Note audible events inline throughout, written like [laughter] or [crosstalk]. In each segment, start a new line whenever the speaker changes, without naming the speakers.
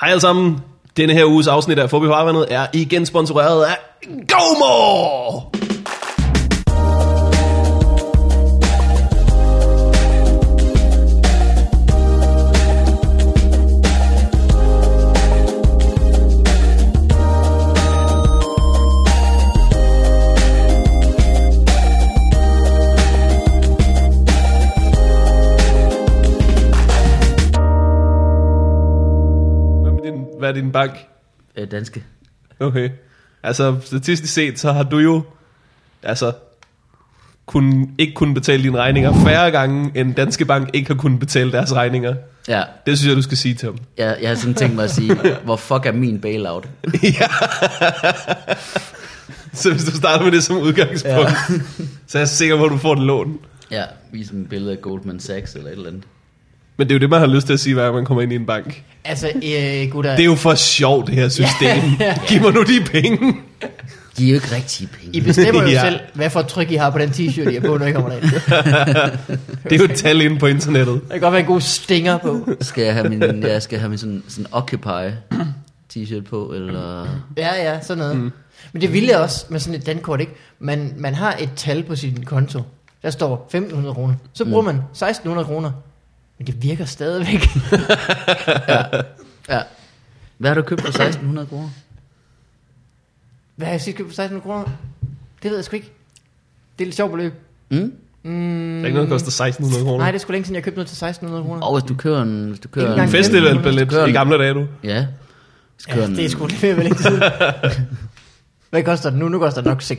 Hej alle sammen. Denne her uges afsnit af Forbi Farvandet er igen sponsoreret af GoMore! Hvad, med din, hvad er din bank?
Øh, danske.
Okay. Altså, statistisk set, så har du jo altså, kun, ikke kunnet betale dine regninger færre gange, end Danske Bank ikke har kunnet betale deres regninger.
Ja,
Det synes jeg, du skal sige til dem.
jeg, jeg har sådan tænkt mig at sige, [laughs] hvor fuck er min bailout?
ja. så hvis du starter med det som udgangspunkt, ja. så er jeg sikker på, at du får et lån.
Ja, vis mig et billede af Goldman Sachs eller et eller andet.
Men det er jo det, man har lyst til at sige, hver gang man kommer ind i en bank.
Altså, øh, gutter,
Det er jo for sjovt, det her system. Giv mig nu de penge.
De er jo ikke rigtige penge.
I
[laughs]
bestemmer jo
Ja.
ja. selv, hvad for et tryk I har på den t-shirt, I har på, når I kommer derind.
Det er jo et tal inde på internettet.
Der kan godt være en god stinger på.
Skal jeg have min, jeg skal have min sådan, sådan Occupy t-shirt på, eller...
Ja, ja, sådan noget. Mm. Men det ville jeg også med sådan et dankort, ikke? Man, man har et tal på sin konto. Der står 1.500 kroner. Så bruger mm. man 1.600 kroner. Men det virker stadigvæk. [laughs]
Ja. Hvad har du købt for 1600 kroner?
Hvad har jeg sidst købt for 1.600 kroner? Det ved jeg sgu ikke. Det er et sjovt beløb.
Mm?
Der er ikke noget, der koster 1600 kroner.
Nej, det er sgu længe siden, jeg købte noget til 1.600 kroner.
Og hvis du kører en... Hvis du
Ikke
kører
engang
en
En festivalballet
Kører
i
en-
gamle dage, du.
Ja. Hvis du kører
Ja,
en,
det er sgu lige ved længe
[laughs]
siden. Hvad koster den nu? Nu koster den nok 6.000.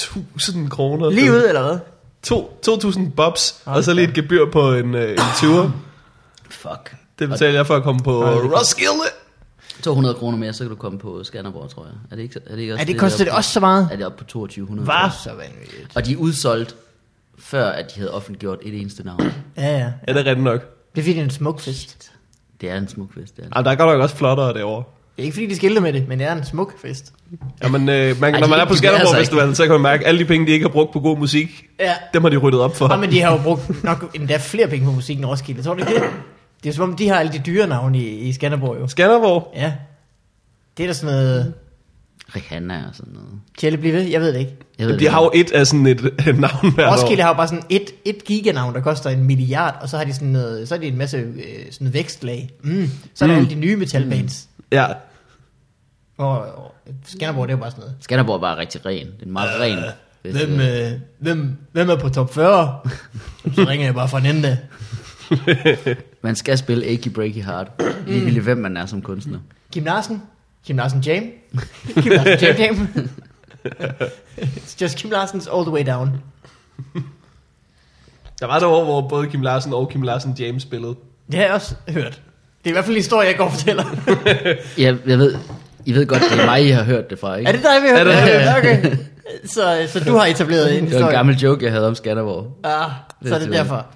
[laughs] 2.000 kroner.
Lige ud, eller hvad?
To- 2.000 bobs,
Hold
og så lige et gebyr på en, øh, en 20'er.
Fuck.
Det betaler jeg for at komme på Roskilde.
200 kroner mere, så kan du komme på Skanderborg, tror jeg. Er det ikke, er det ikke også
Ja, Altså, det koster
der
det
er
også så meget.
Er det oppe på 2200?
Hva?
tror jeg?
Så vanvittigt.
Og de er udsolgt, før at de havde offentliggjort et eneste navn.
Ja, ja.
Ja, det er rigtigt nok.
Det er fordi, det er en smuk fest.
Det er en smuk fest, det er. det.
Ej, der er godt nok også flottere derovre.
Det er ikke fordi, de skilter med det, men det er en smuk fest.
Jamen, øh, man,
Ej,
når
de-
man er på
de bærer
Skanderborg
sig
Festival, så kan man mærke, at alle de penge, de ikke har brugt på god musik,
Ja.
dem har de ryddet op for.
Og men de har jo brugt nok endda flere penge på musikken end Roskilde. Tror du ikke det? Det er som om, de har alle de dyre navne i, i Skanderborg jo.
Skanderborg?
Ja. Det er da sådan noget...
Rihanna og sådan noget.
Kjelle blive ved? Jeg ved det ikke.
Jeg
Jamen, de har jo et af sådan et [laughs] øh, navn hvert
Roskilde
år.
har jo bare sådan et, et giganavn, der koster en milliard, og så har de sådan, noget, så er de en masse øh, sådan vækstlag. Mm. Så er der
Mm.
alle de nye metalbands. Mm.
Ja.
Og, og Skanderborg, det er jo bare sådan noget.
Skanderborg er bare rigtig ren. Det er en meget ren. fest.
Hvem, øh, hvem, hvem er på top [laughs] 40? Så ringer jeg bare fra Nenda. øh?
Man skal spille Achy Breaky
[clears throat]
Heart.
Mm.
Ligegyldigt hvem man er som kunstner.
Kim Larsen. Kim Larsen Jam. [laughs] Kim Larsen Jam Jam. It's [laughs] just Kim Larsen's all the way down.
Der var et år, hvor både Kim Larsen og Kim Larsen James spillede.
Det har jeg også hørt. Det er i hvert fald en historie, jeg går og [laughs] fortæller.
Jeg, jeg ved, I ved godt, det er mig, I har hørt det fra, ikke?
er det dig, vi har
Er
hørt?
det-
Ja, Okay. Så, så du har etableret en
det var en
historie.
gammel joke, jeg havde om Skanderborg.
Ah, så er det derfor.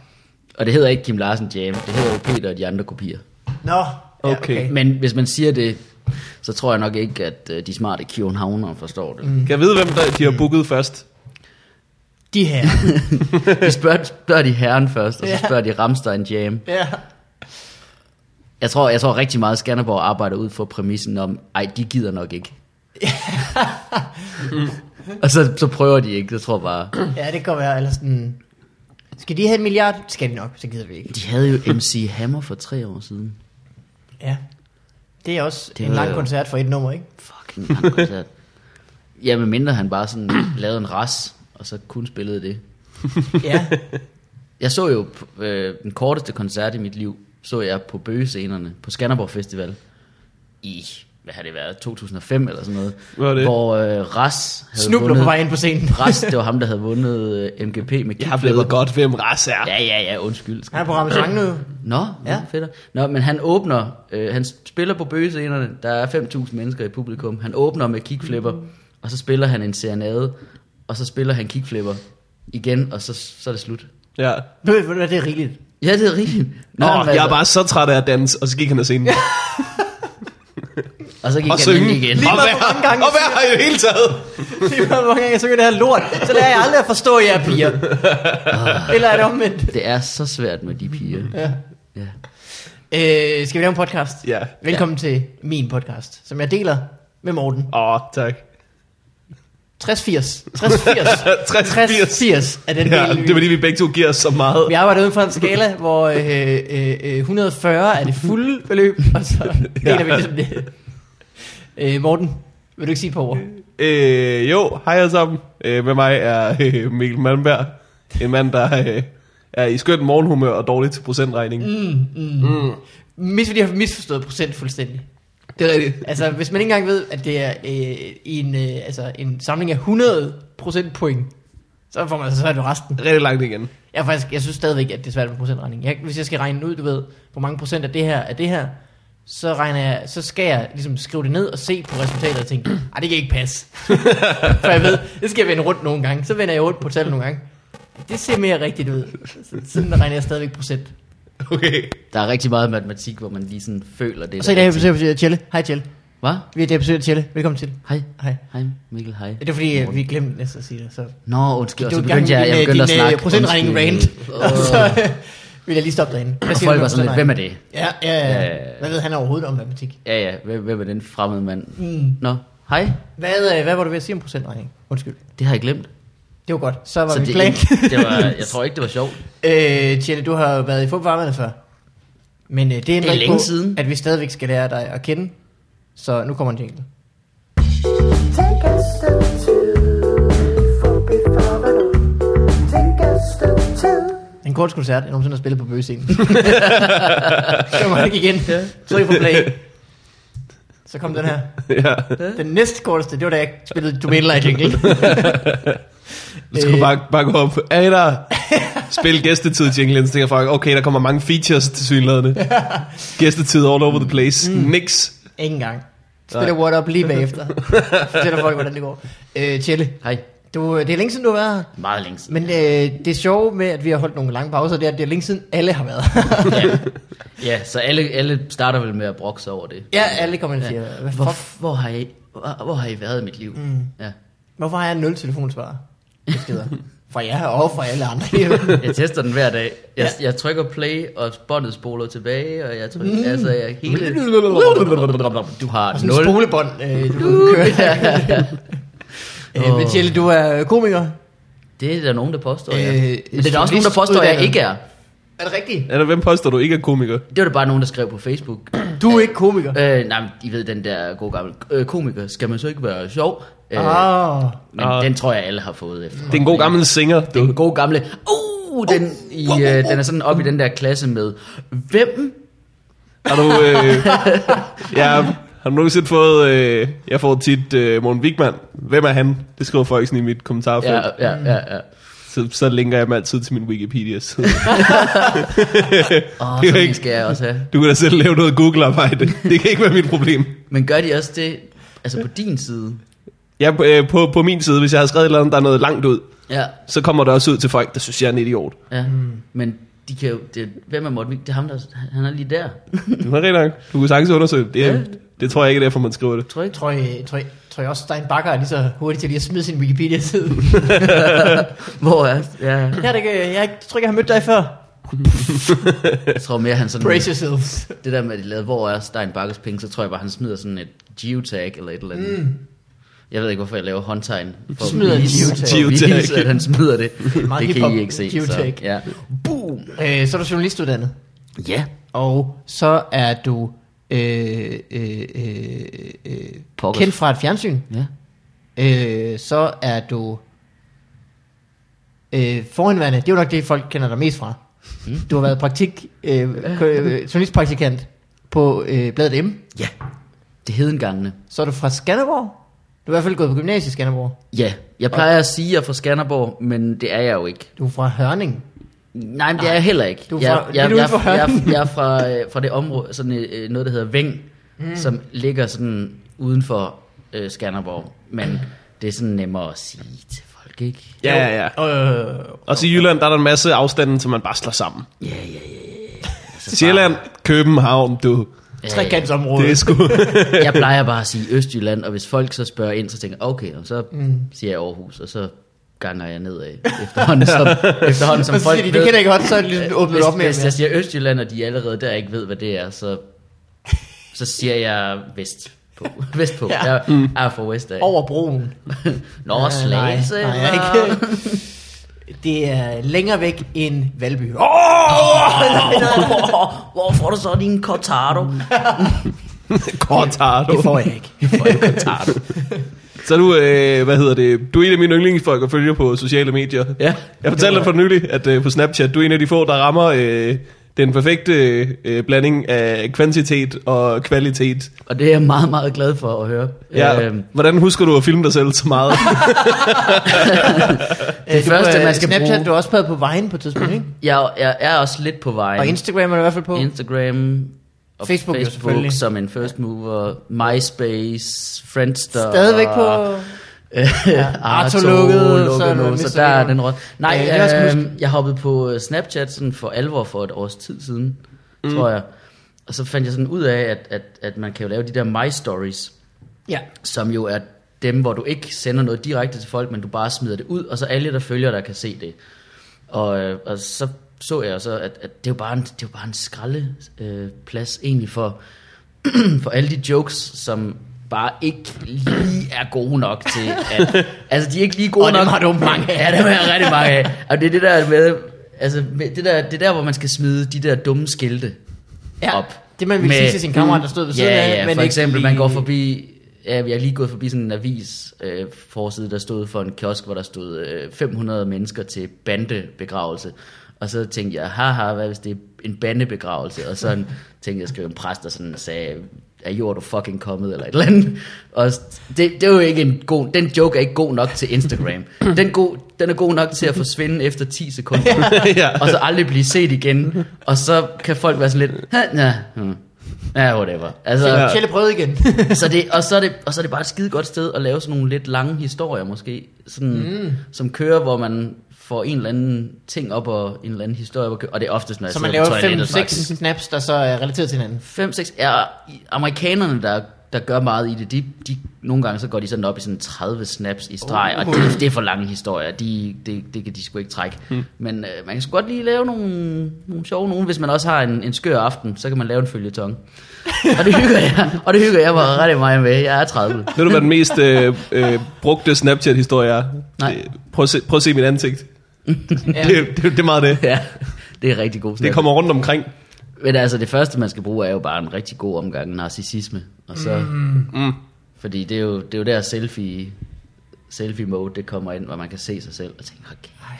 Og det hedder ikke Kim Larsen Jam, det hedder jo Peter og de andre kopier.
Nå, ja,
Okay.
Men hvis man siger det, så tror jeg nok ikke, at øh, de smarte Københavner forstår det.
Mm.
Kan jeg vide, hvem der, de har booket først?
De her.
[laughs] De spørger, spørger de herren først, og så
Ja.
spørger de Ramstein Jam.
Ja.
Jeg tror, jeg tror rigtig meget, Skanderborg arbejder ud for præmissen om, ej, de gider
[laughs]
nok ikke. og så, så prøver de ikke, jeg tror bare.
ja, det kan være. Eller sådan, skal de have en milliard? Det Skal de nok, så gider vi ikke.
De havde jo MC Hammer for tre år siden.
Ja. Det er også
Det
det en lang
var-
koncert for et nummer, ikke?
Fucking lang koncert. Ja, men mindre han bare sådan lavede en ras, og så kun spillede det.
Ja.
Jeg så jo øh, den korteste koncert i mit liv, så jeg på bøgescenerne på Skanderborg Festival i, hvad har det været, 2005 eller sådan noget.
Hvad var det?
Hvor øh, Ras havde
Snubler på
vundet,
vej ind på scenen.
Ras, det var ham, der havde vundet øh, MGP med
Jeg har
kickflipper.
blevet godt, hvem Ras er.
Ja, ja, ja, undskyld.
Han er på Ramazan nu.
Nå, ja.
Ja.
nå fedt. Nå, men han åbner, øh, han spiller på bøgescenerne, der er 5.000 mennesker i publikum, han åbner med kickflipper,
Mm.
og så spiller han en serenade, og så spiller han kickflipper igen, og så, så er det slut.
Ja.
Ved du hvad, det er rigeligt.
Ja, det er rigtigt.
Nå,
han var
jeg er
altså-
bare så træt af at danse, og så gik han af scenen.
Og så gik
og
han
synge.
ind igen.
Og
meget,
være,
hvor mange gange
[laughs] og være her i det hele taget.
Lige meget, hvor mange gange jeg synger det her lort, så lærer jeg aldrig at forstå jer piger. Eller er det omvendt?
Mm.
Det er så svært med de piger.
Ja.
Ja.
Øh, skal vi lave en podcast?
Ja.
Velkommen ja. til min podcast, som jeg deler med Morten.
Åh, oh, tak.
60-80. 60-80.
60
60-80 er den
Ja,
del, vi-
det var fordi, vi begge to giver os så meget.
Vi arbejder ud fra en skala, hvor øh, øh, øh, 140 er det fulde beløb, og så deler ja. vi ligesom det. Øh, Morten, vil du ikke sige et par ord?
Øh, jo, hej alle sammen. Øh, med mig er [laughs] øh, Mikkel Malmberg. En mand, der øh, er i skønt morgenhumør og dårlig til procentregning. Mm.
Mis, fordi jeg har misforstået procent fuldstændig.
Det er rigtigt.
Altså, hvis man ikke engang ved, at det er øh, i en, øh, altså, en samling af 100 procentpoint, så får man altså svært ved resten.
Rigtig langt igen.
Jeg, er faktisk, jeg synes stadigvæk, at det er svært med procentregning. Jeg, hvis jeg skal regne ud, du ved, hvor mange procent af det her er det her, så, regner jeg, så skal jeg ligesom skrive det ned og se på resultatet og tænke, [clears throat] ej, det kan ikke passe. For jeg ved, det skal jeg vende rundt nogle gange. Så vender jeg rundt på tallet nogle gange. Det ser mere rigtigt ud. Så, sådan regner jeg stadigvæk procent.
[laughs] Okay.
Der er rigtig meget matematik, hvor man lige sådan føler det.
Og så i dag har vi besøg af Tjelle. Hej Tjelle.
Hvad?
Vi har i dag besøg af Tjelle. Velkommen til.
Hej.
Hej.
Hej, Mikkel, hej.
Det er fordi, at vi glemte næsten at sige det. Så.
Nå, undskyld, og
Du
så
er i gang
begyndte jeg, jeg
med
begyndte at
din, øh,
snakke.
procentregning rant.
undskyld.
Og [laughs] så øh, vil jeg lige stoppe derinde. Hvad
Og
siger du
folk
med
var sådan lidt, hvem er det?
Ja, ja,
Ja,
ja.
ja.
Hvad ved han overhovedet om matematik?
Ja, ja, hvem, hvem er den fremmede mand?
Mm.
Nå, hej.
Hvad, øh, hvad var du ved at sige om procentregning? Undskyld.
Det har jeg glemt.
Det var godt. Så var så
Så
vi
det,
plan.
[laughs] det var, jeg tror ikke, det var sjovt.
[laughs] øh, Tjelle, du har jo været i fodboldvarmerne før. Men øh, det er,
længe
på,
siden.
at vi stadigvæk skal lære dig at kende. Så nu kommer en jingle.
Take a step two, for before the door. Take a step two.
En kort koncert, jeg nogensinde har spillet på bøgescenen. [laughs] så må jeg ikke igen. Tryk på play. Så kom den her.
ja.
Den næste korteste, det var da jeg spillede Du mener jeg jingle.
Nu skal du
Øh.
bare, bare gå op. Er I der? Spil gæstetid, jinglen. Så tænker folk, okay, der kommer mange features til synlædende. Gæstetid all over the place. Mm. Nix.
Ingen gang. Spiller What Up lige bagefter. Fortæller folk, hvordan det går. Øh, Tjelle,
Hej.
du, det er længe siden, du har været her.
Meget længe
[laughs]
siden.
Men øh, det sjove med, at vi har holdt nogle lange pauser, det er, at det er længe siden, alle har været her.
ja. ja, så alle, alle starter vel med at brokke sig over det.
[laughs] ja, alle kommer ind og siger,
Ja.
"Hvad
Hvor,
fuck?
hvor, har I, hvor, hvor har I været i mit liv? Mm. Ja.
hvorfor har jeg nul telefonsvarer? Det skider. Fra jer og fra alle andre.
Jeg tester den hver dag. Jeg, ja. jeg trykker play, og båndet spoler tilbage, og jeg trykker, mm. altså jeg er
[laughs]
hele... Du har
og sådan en
[laughs] 0.
spolebånd, øh,
Uh.
du kører.
[laughs]
øh, men Tjelle, du er komiker.
Det er der nogen, der påstår,
Øh,
ja. Men det er der også nogen, der
journalist-
påstår, jeg
uddannet.
ikke er.
Er det rigtigt?
Er der, hvem påstår du ikke er komiker?
Det var der bare nogen, der skrev på Facebook.
Du er ikke komiker.
Øh, nej, men I ved den der gode gamle øh, komiker. Skal man så ikke være sjov? Øh,
Ah.
men
Ah.
den tror jeg, alle har fået efter.
Det er en god gammel singer,
Det er
du.
en god gamle... Uh, den, i, øh, den er sådan oppe i den der klasse med... Hvem?
Har du, øh, ja, har du nogensinde fået, øh, jeg får tit øh, Morten Wigman. Hvem er han? Det skriver folk sådan i mit kommentarfelt.
Ja,
Ja.
ja, ja. ja.
Så, så linker jeg dem altid til min Wikipedia-side.
Åh,
Det er
sådan en
ikke-
skal jeg også have.
Du kan da selv lave noget Google-arbejde. Det kan ikke være mit problem.
Men gør de også det, altså på din side?
Ja, på, øh, på, på min side, hvis jeg har skrevet et eller andet, der er noget langt ud,
Ja,
så kommer det også ud til folk, der synes, jeg er en idiot.
ja. Mm. Men de kan jo, det, hvem er Morten Vig? Det er ham, der, han er lige
[laughs]
der.
Du har rigtig nok. Du kunne sagtens undersøge det. Det, er,
Ja.
det tror jeg ikke er derfor, man skriver det.
Tror jeg ikke?
Tror I, tror, I, tror I også, Stein Bakker er lige så hurtig til lige at smide sin Wikipedia-side?
Hvor er ja,
Jeg, er det ikke, jeg tror ikke, jeg har mødt dig før.
Jeg tror mere, han sådan...
Brace yourselves.
Det der med, at de lavede, hvor er Stein Bakkers penge, så tror jeg bare, han smider sådan et geotag eller et eller andet. Mm. Jeg ved ikke, hvorfor jeg laver håndtegn for
Smider
at
et
vise,
geotag.
for at vise,
Geotag.
at han smider det.
[laughs] Meget
det kan
hiphop
I ikke se. Så,
geotag.
ja. Boom!
Øh, så er du journalistuddannet.
Ja,
Og så er du øh, øh, øh, øh,
Pokkers.
kendt fra et fjernsyn.
ja.
Øh, så er du øh, forhenværende. Det er jo nok det, folk kender dig mest fra. Mm. Du har været praktik, øh, kø- øh, journalistpraktikant på øh, Bladet M.
Ja. Det hed engang.
Så er du fra Skanderborg. Du er i hvert fald gået på gymnasiet i Skanderborg.
Ja, jeg plejer at sige, at jeg er fra Skanderborg, men det er jeg jo ikke.
Du er fra Hørning.
Nej, men det er jeg heller ikke.
Du er
jeg,
fra-
jeg,
er
jeg,
du
jeg,
ude for
jeg,
Hørning?
jeg er fra, øh, fra det område, sådan øh, noget, der hedder Veng, mm. som ligger sådan uden for øh, Skanderborg. Men det er sådan nemmere at sige til folk, ikke?
Ja, ja, ja.
Øh,
Også i Jylland, der er der en masse afstanden, som man bare slår sammen.
Ja, ja, ja. Altså,
Sjælland, København, du.
bare-
trekantsområde.
Det er sgu... [laughs]
Øh, jeg plejer bare at sige Østjylland, og hvis folk så spørger ind, så tænker jeg, okay, og så mm. siger jeg Aarhus, og så ganger jeg nedad efterhånden
[laughs]
som, efterhånden, som
Og så
folk
siger de, det kender jeg godt, så er det ligesom åbnet
Øh, hvis,
op mere og
Hvis jeg
mere.
siger Østjylland, og de allerede der ikke ved, hvad det er, så, så siger jeg vest på. [laughs] Vest på.
Ja.
Ja. Jeg mm. er fra vest af.
Over broen.
Nå, Slagelse.
Nej, nej,
var-
jeg ikke. [laughs] Det er længere væk end Valby. Åh!
Hvor- Hvor får du så din cortado?
Mm.
Cortado.
Det får jeg ikke.
Cortado. Så er du, øh, hvad hedder det, du er en af mine yndlingsfolk at følge på sociale medier.
Ja.
Jeg fortalte dig for nylig, at øh, på Snapchat, du er en af de få, der rammer øh, den perfekte øh, blanding af kvantitet og kvalitet.
Og det er jeg meget, meget glad for at høre.
Ja,
Øhm,
hvordan husker du at filme dig selv så meget?
det første, man skal
Øh, Snapchat,
bruge...
du har også været på vejen på et tidspunkt, ikke?
Jeg, jeg er også lidt på vej.
Og Instagram er du i hvert fald på.
Instagram og
Facebook
Facebook,
jo
Facebook
selvfølgelig.
som en first mover, MySpace, Friendster.
Stadigvæk på...
[laughs] ja,
Arto Ah, lukket, så er
så,
du
nu,
mistet
så der er
Instagram.
den råd.
Ja,
Nej,
det er også
øh,
muskler.
jeg hoppede på øh, Snapchat sådan for alvor for et års tid siden, mm. tror jeg. Og så fandt jeg sådan ud af, at, at, at man kan jo lave de der My Stories,
Ja.
som jo er dem, hvor du ikke sender noget direkte til folk, men du bare smider det ud, og så alle, der følger dig, kan se det. Og, øh, og så så jeg så, at, at det er jo bare en, det er jo bare en skralde, øh, plads egentlig for, [clears throat] for alle de jokes, som bare ikke lige er gode nok til
[laughs]
at... altså, de er ikke lige gode
Og dem
nok...
har du mange af.
[laughs] Ja, dem har jeg rigtig mange af. Og det er det der med... Altså, med det, der, det er der, hvor man skal smide de der dumme skilte
Ja,
op.
det man ville sige til sin kammerat, der stod ved
ja,
siden af,
Ja,
men
for
ikke
eksempel,
lige-
man går forbi... Ja, jeg er lige gået forbi sådan en avis øh, forside, der stod for en kiosk, hvor der stod øh, 500 mennesker til bandebegravelse. Og så tænkte jeg, haha, hvad hvis det er en bandebegravelse? Og så en- tænkte jeg, jeg skrev en præst, der sådan sagde, er jord du fucking kommet, eller et eller andet. Og det, det, er jo ikke en god, den joke er ikke god nok til Instagram. Den, god, den er god nok til at forsvinde efter 10 sekunder
[laughs] ja.
og så aldrig blive set igen. Og så kan folk være sådan lidt, "Ha, ja, hmm. ja, whatever.
Ja.
Altså,
Kjelle prøvede
[laughs]
igen.
så det, og, så er det, og så er det bare et skide godt sted at lave sådan nogle lidt lange historier måske, sådan, mm. som kører, hvor man får en eller anden ting op og en eller anden historie, op at køre. og det er oftest, når jeg
så man
sidder
laver
på toilettet
5-6 snaps, der så er relateret til hinanden.
5-6 er amerikanerne, der, der gør meget i det. De, de, nogle gange så går de sådan op i sådan 30 snaps i streg, oh. og det, det, er for lange historier. De, det, det kan de sgu ikke trække. Hmm. Men øh, man kan sgu godt lige lave nogle, nogle sjove nogen. Hvis man også har en, en skør aften, så kan man lave en [laughs] følgetong. og det hygger jeg, og det hygger jeg mig rigtig meget med. Jeg er 30.
Ved du, hvad den mest øh, øh, brugte Snapchat-historie er?
Nej.
Øh, Prøv at se, prøv at se mit ansigt.
[laughs] Ja.
Det, det, det er meget det.
Ja, det er rigtig god snap.
Det kommer rundt omkring.
Men altså, det første, man skal bruge, er jo bare en rigtig god omgang narcissisme. Og så, mm.
Mm.
Fordi det er jo, det er jo der selfie, selfie mode, det kommer ind, hvor man kan se sig selv og tænke, okay,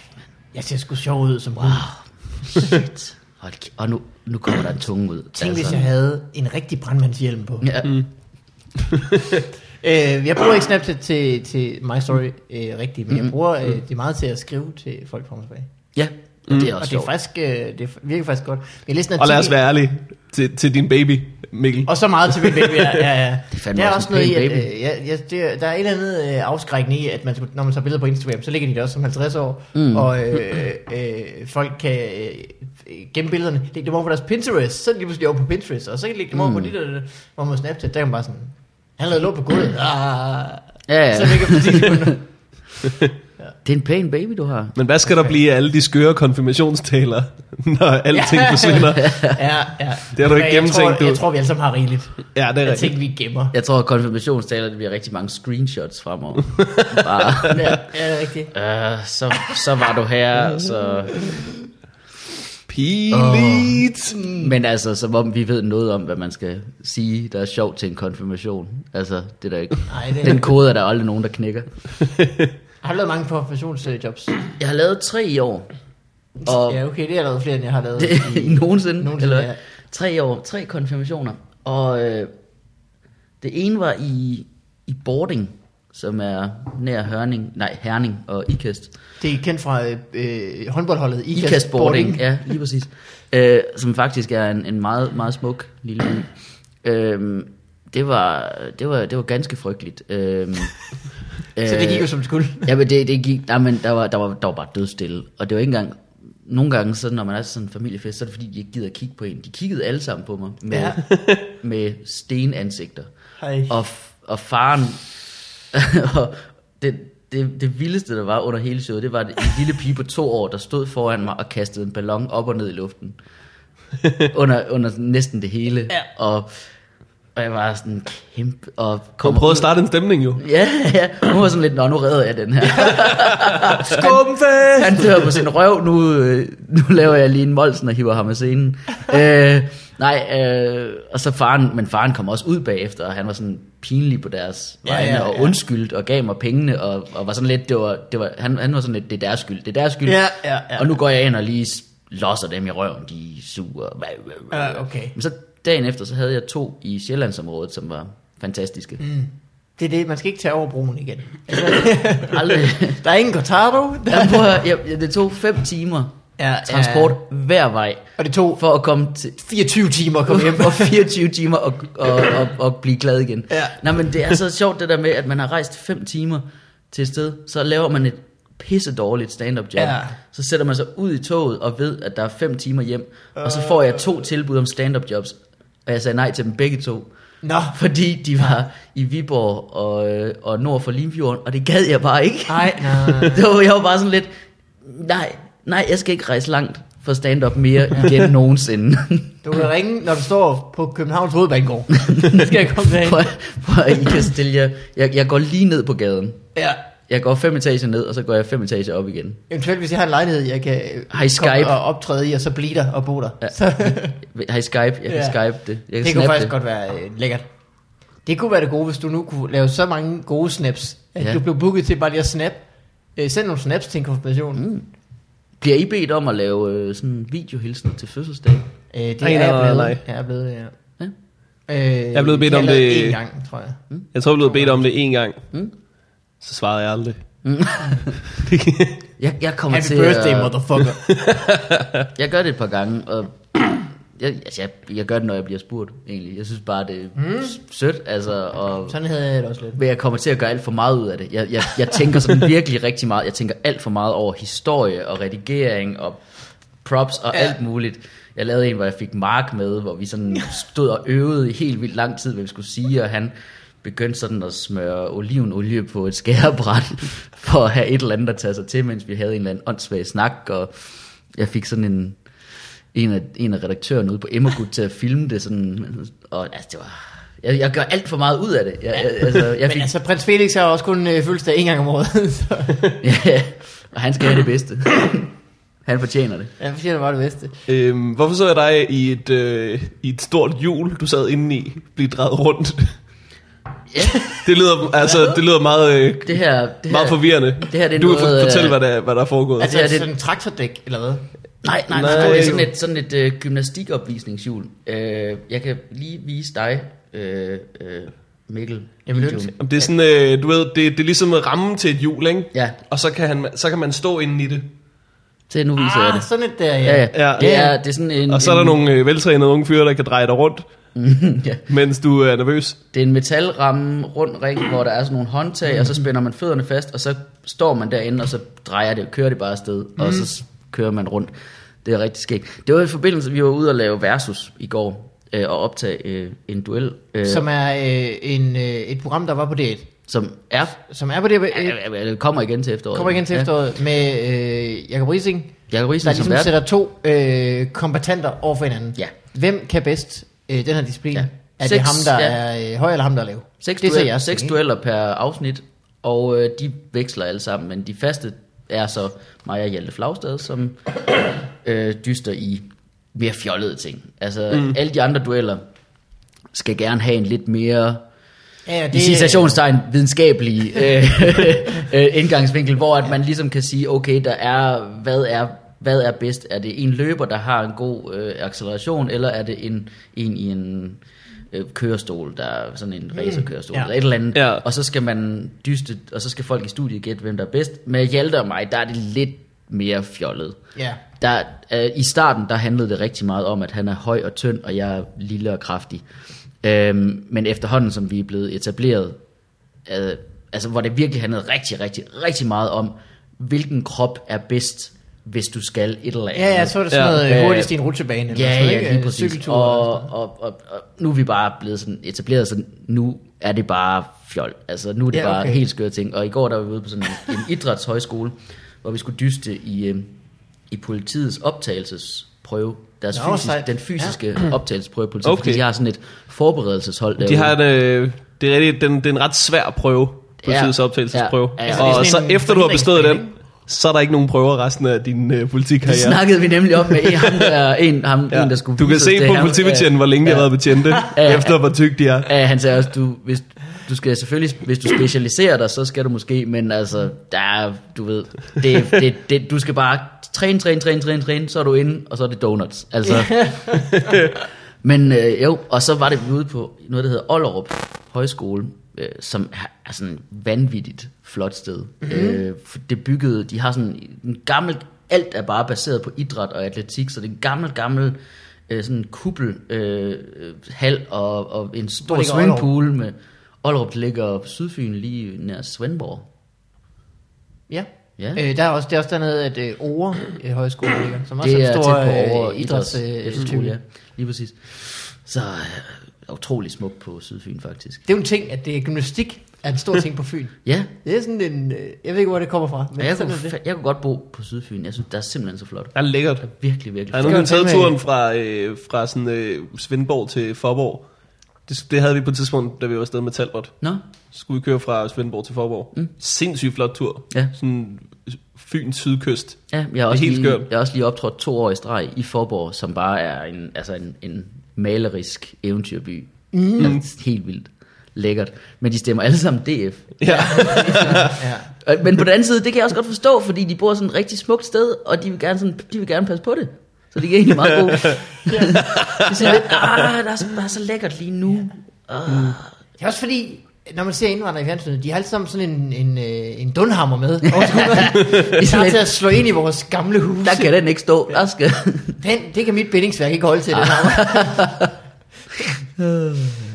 Jeg ser sgu sjov ud som wow.
shit. Hold, kæ- og nu, nu kommer der en tunge ud.
Tænk, hvis jeg havde en rigtig brandmandshjelm på.
Altså. Ja. Mm.
Øh, jeg bruger ikke Snapchat til, til My Story øh, rigtigt, men jeg bruger øh, det meget til at skrive til folk fra mig tilbage.
ja. Og Mm-hmm. det er
Mm. Og
også
det, er
sjovt.
faktisk, øh, det virker faktisk godt. Jeg læste en
Og lad os
artikel-
være ærlige til, til din baby, Mikkel.
Og så meget til min baby, ja, ja, ja.
Det er fandme
der er
også
også
en
noget i,
pæn
at,
baby.
øh, ja, ja, det, der er et eller andet øh, afskrækkende i, at man, skulle- når man tager billeder på Instagram, så ligger de der også som 50 år, mm. og øh, øh, folk kan øh, øh, gemme billederne, lægge dem over på deres Pinterest, så er de lige pludselig over på Pinterest, og så kan de lægge dem over
Mm.
på det der, hvor man Snapchat, der er man bare sådan, han lavede lort på gulvet, ah,
Ja,
så ligger det på 10 sekunder.
Det er en pæn baby, du har.
Men hvad skal der blive af alle de skøre konfirmationstaler, [laughs] når [laughs] alting forsvinder?
Ja, ja.
Det har du ikke
Men jeg tror-
gennemtænkt, du.
Jeg tror, vi alle sammen har rigeligt.
Ja, det er
Jeg
rigtigt.
tænker, vi gemmer.
Jeg tror, at konfirmationstaler, det bliver rigtig mange screenshots fremover. bare,
Ja, ja, det er rigtigt.
øh, så, så var du her, så...
Pilit!
Men altså, som om vi ved noget om, hvad man skal sige, der er sjovt til en konfirmation. Altså, det er der ikke.
Nej, det er-
Den kode er der aldrig nogen, der knækker.
Har du lavet mange professionsjobs?
Jeg har lavet tre i år. Og
Ja, okay, det har jeg lavet flere, end jeg har lavet
det,
i
nogensinde,
[laughs] Nogensinde,
nogensinde eller,
ja.
ja. tre år, tre konfirmationer. Og øh, det ene var i, i Boarding, som er nær Hørning, nej, Herning og Ikast.
Det er kendt fra øh, øh, håndboldholdet Ikast,
Ikast Boarding, ja, lige præcis. [laughs] øh, som faktisk er en, en meget, meget smuk lille by. Øhm, det, var, det, var, det var ganske frygteligt. Øhm,
[laughs]
Øh.
Så det gik jo som det skulle.
Ja, men det, det gik, nej, men der var, der, var, der var bare dødstille, og det var ikke engang, nogle gange, så når man er til sådan en familiefest, så er det fordi, de ikke gider at kigge på en. De kiggede alle sammen på mig med,
Ja.
ja. [laughs] med stenansigter.
Hej.
[laughs] Og, f- og faren, og det, det, det vildeste, der var under hele showet, det var en lille pige på to år, der stod foran mig og kastede en ballon op og ned i
[laughs]
luften. Under, under næsten det hele.
Ja.
Og, og jeg var sådan kæmpe... Og
Kom,
kommer
prøv at
ud-
starte en stemning jo.
Ja, ja. Hun var sådan lidt, nå, nu redder jeg
[laughs]
den her.
Skumfe!
Han dør på sin røv, nu, øh, nu laver jeg lige en molsen og hiver ham af scenen. Øh, nej, øh, og så faren, men faren kom også ud bagefter, og han var sådan pinlig på deres
Ja,
vegne,
ja,
og
ja.
undskyldte og gav mig pengene, og, og var sådan lidt, det var, det var, han, han var sådan lidt, det er deres skyld, det er deres skyld.
Ja, ja, ja.
Og nu går jeg ind og lige s- losser dem i røven, de er sure.
Ja, okay.
Men så dagen efter, så havde jeg to i Sjællandsområdet, som var fantastiske. Mm.
Det er det, man skal ikke tage over broen igen.
Altså- Aldrig,
[laughs] Der er ingen Cortado. [laughs]
Jamen, prøv at, høre, jeg, det tog 5 timer
Ja,
transport hver vej,
Og det tog
for at komme til
24 timer
[laughs]
at komme hjem. [laughs]
og 24 timer og, og, og, og blive glad igen.
Ja.
Nej, men det er så sjovt det der med, at man har rejst 5 timer til et sted, så laver man et pisse dårligt stand-up job.
Ja.
Så sætter man sig ud i toget og ved, at der er 5 timer hjem, og så
Øh.
får jeg to tilbud om stand-up jobs, og jeg sagde nej til dem begge to.
Nå,
Fordi de var i Viborg og, øh, og nord for Limfjorden, og det gad jeg bare ikke.
nej, nej.
[laughs] Det var, jeg var bare sådan lidt, nej, nej, jeg skal ikke rejse langt for stand-up mere igen nogensinde.
[laughs] Du kan ringe, når du står på Københavns
[laughs]
Hovedbanegård. Det skal jeg komme
for,
derhen.
for I kan stille jer, jeg, jeg går lige ned på gaden.
Ja.
Jeg går fem etager ned, og så går jeg fem etager op igen.
Eventuelt, hvis jeg har en lejlighed, jeg kan øh,
Har I Skype?
og optræde i, og så blive der og bo der.
Ja.
Så,
Har I Skype? Jeg kan
Ja.
Skype det. Jeg kan
det kunne
snappe
faktisk
det.
godt være øh, lækkert. Det kunne være det gode, hvis du nu kunne lave så mange gode snaps, at
Ja.
ja. du blev booket til bare lige at snap. Øh, send nogle snaps til en konfirmation. Mm.
Bliver I bedt om at lave øh, sådan videohilsen til
[laughs]
fødselsdag?
Øh, det
Nej,
er
nej,
jeg
nej,
blevet.
nej.
Jeg er blevet det, ja.
Ja.
Øh,
Jeg er blevet bedt om
jeg lavede
det-
én gang, tror jeg.
Jeg tror, jeg blev bedt om det en gang.
Mm.
Så svarede jeg aldrig. [laughs]
Jeg, jeg kommer
Happy
til
birthday,
at-
motherfucker.
Jeg gør det et par gange, og [clears throat] jeg, altså, jeg, jeg gør det, når jeg bliver spurgt, egentlig. Jeg synes bare, det er mm. sødt, altså, og,
[laughs] Sådan havde jeg det også lidt.
men jeg kommer til at gøre alt for meget ud af det. Jeg, jeg, jeg tænker sådan virkelig rigtig meget. Jeg tænker alt for meget over historie og redigering og props og ja. alt muligt. Jeg lavede en, hvor jeg fik Mark med, hvor vi sådan stod og øvede i helt vildt lang tid, hvad vi skulle sige, og han begyndte sådan at smøre olivenolie på et skærebræt, [laughs] for at have et eller andet at tage sig til, mens vi havde en eller anden åndssvag snak, og jeg fik sådan en, en, af, en af redaktørerne ude på Emmergud til at filme det sådan, og altså, det var, jeg, jeg gør alt for meget ud af det. Jeg, jeg, altså, jeg
Men
fik,
altså, prins Felix har også kun øh, fødselsdag en gang om året, [laughs] så
[laughs] ja, og han skal have det bedste. Han fortjener det.
han fortjener bare det bedste.
Øhm, hvorfor så jeg dig i et, øh, i et stort hjul, du sad inde i, blive drejet rundt? [laughs]
Ja.
Det lyder, altså, det lyder meget, øh,
Det her, det her,
meget forvirrende.
det her, det er
du kan
noget, øh,
for, fortælle, hvad der, hvad der er foregået.
Altså,
Ja,
ja,
det-
det... sådan en traktordæk, eller hvad?
Nej, nej, nej,
Nej.
nej. Det er sådan et, sådan et øh, gymnastikopvisningshjul. Øh, jeg kan lige vise dig, øh, øh, Mikkel.
Jamen,
videoen.
det-
Jamen, Det er sådan, øh, du ved, det, det er ligesom rammen til et hjul, ikke?
Ja,
Og så kan, han, så kan man stå inde i det.
se nu viser jeg
Ah,
Mm, det.
sådan et der, ja.
Ja,
ja.
ja.
Ja.
Det, er, det er sådan en...
Og så er der
en,
nogle øh, veltrænede unge fyre, der kan dreje dig rundt,
[laughs] ja.
mens du er nervøs.
Det er en metalramme rundt ring, hvor der er sådan nogle håndtag, og så
Mhm.
spænder man fødderne fast, og så står man derinde, og så drejer det, kører det bare afsted, og så s-
Mhm.
kører man rundt. Det er rigtig skægt. Det var i forbindelse, vi var ude og lave versus i går, øh, og optage øh, en duel, øh, som,
Som er øh, en, øh, et program, der var på det
som er...
Som er på det øh,
Øh, øh, kommer igen til efteråret.
kommer igen til
Ja.
efteråret med øh, Jacob Rising,
Jakob
der
Riesen som
ligesom
vært.
sætter to øh, kompetenter over for hinanden.
Ja.
Hvem kan bedst øh, den her disciplin?
Ja.
Ja. Er
Seks,
det ham, der
ja.
ja. er øh, høj, eller ham, der er lav?
Seks,
det
det
ser
duel,
jeg også
seks
til,
dueller per afsnit, og øh, de veksler alle sammen, men de faste er så mig og Hjalte Flagstad, som øh, dyster i mere fjollede ting. Altså, mm. alle de andre dueller skal gerne have en lidt mere
ikke? Ja,
i citationstegn videnskabelig øh, [laughs] øh, indgangsvinkel, hvor at man ligesom kan sige, okay, der er, hvad er hvad er bedst? Er det en løber, der har en god øh, acceleration, eller er det en, en i en øh, kørestol, der er sådan en racerkørestol,
Mm. ja.
eller et eller andet,
Ja.
og så skal man dyste, og så skal folk i studiet gætte, hvem der er bedst. Med Hjalte og mig, der er det lidt mere fjollet.
Ja.
Der, øh, I starten, der handlede det rigtig meget om, at han er høj og tynd, og jeg er lille og kraftig. Øhm, men efterhånden, som vi er blevet etableret, øh, altså hvor det virkelig handlede rigtig, rigtig, rigtig meget om, hvilken krop er bedst, hvis du skal et eller andet.
Ja, ja, så er det sådan
Ja.
noget
Ja.
øh, hurtigst i en rutsjebane. eller
Ja,
sådan noget,
ja,
ikke?
lige præcis.
Cykelture eller
Og,
sådan noget.
og, og, og nu er vi bare blevet sådan etableret, så nu er det bare fjol. Altså, nu er det
Ja,
ja, okay. bare
okay.
helt skøre ting. Og i går, der var vi ude på sådan en, en idrætshøjskole, hvor vi skulle dyste i, øh, i politiets optagelsesprøve. Deres
Nå,
fysisk,
sejt.
den fysiske ja. optagelsesprøve i politiet, okay.
Okay.
fordi de har sådan et forberedelseshold derude.
De har en, øh, det er rigtig, den, det er en ret svær prøve, politiets
Ja.
optagelsesprøve.
Ja. Ja.
Ja. Og
Altså, det
så
er sådan en
efter du har bestået den,
forhindringsprøve,
så er der ikke nogen prøver resten af din øh,
Det
politikkarriere.
snakkede vi nemlig om med en, ham der, en, ham, ja. en, der skulle
du kan
vise os
se
det
på
her.
politibetjenten, hvor længe de har været betjente,
[laughs] Ja.
efter hvor tyk de er.
Ja, ja, han sagde også, du, hvis, du skal selvfølgelig, hvis du specialiserer dig, så skal du måske, men altså, der er, du ved, det, det, det, du skal bare træne, træne, træne, træne, træne, så er du inde, og så er det donuts. Altså. men øh, jo, og så var det vi ude på noget, der hedder Ollerup Højskole, øh, som er- er sådan et vanvittigt flot sted.
Mhm.
Mm-hmm. Øh, for det byggede, de har sådan en gammel, alt er bare baseret på idræt og atletik, så det er en gammel, gammel øh, sådan en kuppel, øh, øh, hal og, og en stor
ligger Ollerup?
svømmepool med Ollerup der ligger på Sydfyn lige nær Svendborg.
Ja.
Ja.
Øh, der er også, det er også dernede, at øh, Ore øh, Højskole ligger, som også
det
er en
er
stor
tæt på over
øh, idræts, øh,
idræts
skole,
ja. Lige præcis. Så øh, utrolig smukt på Sydfyn faktisk.
Det er jo en ting, at det er gymnastik er en stor ting på Fyn.
Ja,
Det er sådan en, øh, jeg ved ikke, hvor det kommer fra, men
og jeg
sådan
kunne,
er det.
fa- jeg kunne godt bo på Sydfyn. Jeg synes, der er simpelthen så flot.
Det er lækkert.
Virkelig, virkelig
Jeg har
flot.
nu har
Skal vi
taget
tage med-
turen fra, øh, fra sådan, øh, Svendborg til Forborg. Det, det havde vi på et tidspunkt, da vi var afsted med Talbot.
Nå,
Så skulle vi køre fra Svendborg til Forborg. Mm. Sindssygt flot tur.
Ja.
Sådan øh, Fyns sydkyst.
ja, jeg har
er
også,
helt
lige,
skørt.
jeg har også lige optrådt to år i streg i Forborg, som bare er en, altså en, en malerisk eventyrby. Mm. Altså, helt vildt lækkert. Men de stemmer alle sammen DF.
Ja.
Ja.
Og- Men på den anden side, det kan jeg også godt forstå, fordi de bor sådan et rigtig smukt sted, og de vil gerne, sådan, de vil gerne passe på det. Så det er egentlig meget godt. de siger lidt, ah, der er så, der er så lækkert lige nu. Ah,
Det er også fordi, når man ser indvandrere i fjernsynet, de har alle sammen sådan en, en, øh, en dunhammer med. over skulderen. De er til at slå ind i vores gamle hus.
Der kan den ikke stå. Der skal...
Den, det kan mit bindingsværk ikke holde til, den hammer.